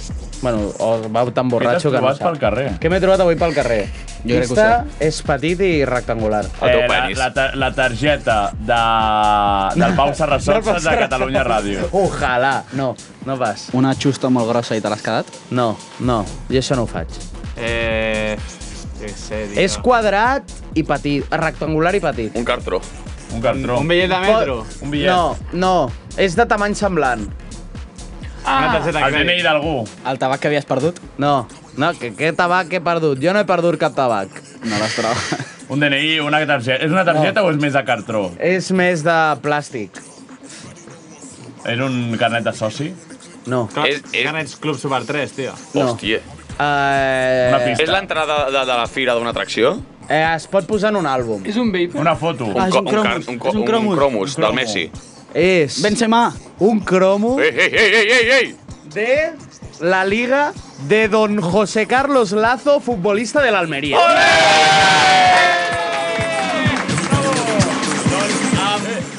Speaker 8: Bueno, o va tan borratxo que no
Speaker 3: trobat
Speaker 8: sap.
Speaker 3: pel carrer?
Speaker 8: Què m'he trobat avui pel carrer?
Speaker 3: Jo crec que ho
Speaker 8: Pista és petit i rectangular.
Speaker 3: Eh, la, la, ta- la targeta de, del Pau Sarrasots de Catalunya Ràdio.
Speaker 8: Ojalà. No, no pas.
Speaker 11: Una xusta molt grossa i te l'has quedat?
Speaker 8: No, no. Jo això no ho faig.
Speaker 7: Eh... Què sé, tio.
Speaker 8: És quadrat i petit, rectangular i petit.
Speaker 9: Un cartró.
Speaker 3: Un cartró.
Speaker 7: Un bitllet de metro.
Speaker 8: Pot- No, no. És de tamany semblant.
Speaker 7: Una targeta de crèdit.
Speaker 3: d'algú.
Speaker 8: El tabac que havies perdut? No, no, que, que tabac he perdut? Jo no he perdut cap tabac. No l'has trobat.
Speaker 3: Un DNI, una targeta. És una targeta o és més de cartró?
Speaker 8: És més de plàstic.
Speaker 3: És un carnet de soci?
Speaker 8: No.
Speaker 7: És, és... Carnets Club Super 3, tio.
Speaker 8: No.
Speaker 9: Hòstia.
Speaker 8: Eh,
Speaker 9: És l'entrada de, de, de la fira d'una atracció?
Speaker 8: eh, es pot posar en un àlbum.
Speaker 10: És un vapor?
Speaker 3: Una foto.
Speaker 8: Ah, és un
Speaker 9: car-
Speaker 8: cromus.
Speaker 9: un, co- un, cromus, del Messi.
Speaker 8: És... Benzema. Un cromo
Speaker 9: Ei, ei, ei, ei, ei, ei!
Speaker 8: de la Liga de Don José Carlos Lazo, futbolista de l'Almeria.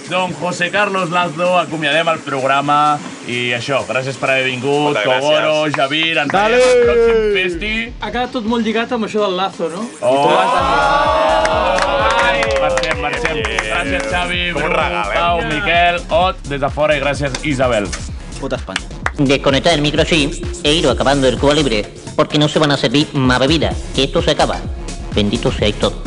Speaker 3: Don José Carlos Lazo, acomiadem el programa i això, gràcies per haver vingut,
Speaker 9: Moltes gràcies.
Speaker 3: Togoro, Javier, ens
Speaker 9: Dale!
Speaker 3: veiem al pròxim festi.
Speaker 10: Ha quedat tot molt lligat amb això del lazo, no?
Speaker 3: Oh! Marxem, marxem. Gràcies, Xavi, Bru,
Speaker 9: eh?
Speaker 3: Pau, Miquel, Ot, des de fora i gràcies, Isabel.
Speaker 11: Puta Espanya.
Speaker 15: Desconectar el microchip e ir acabando el Cuba Libre, porque no se van a servir más bebidas, que esto se acaba. Bendito sea todo.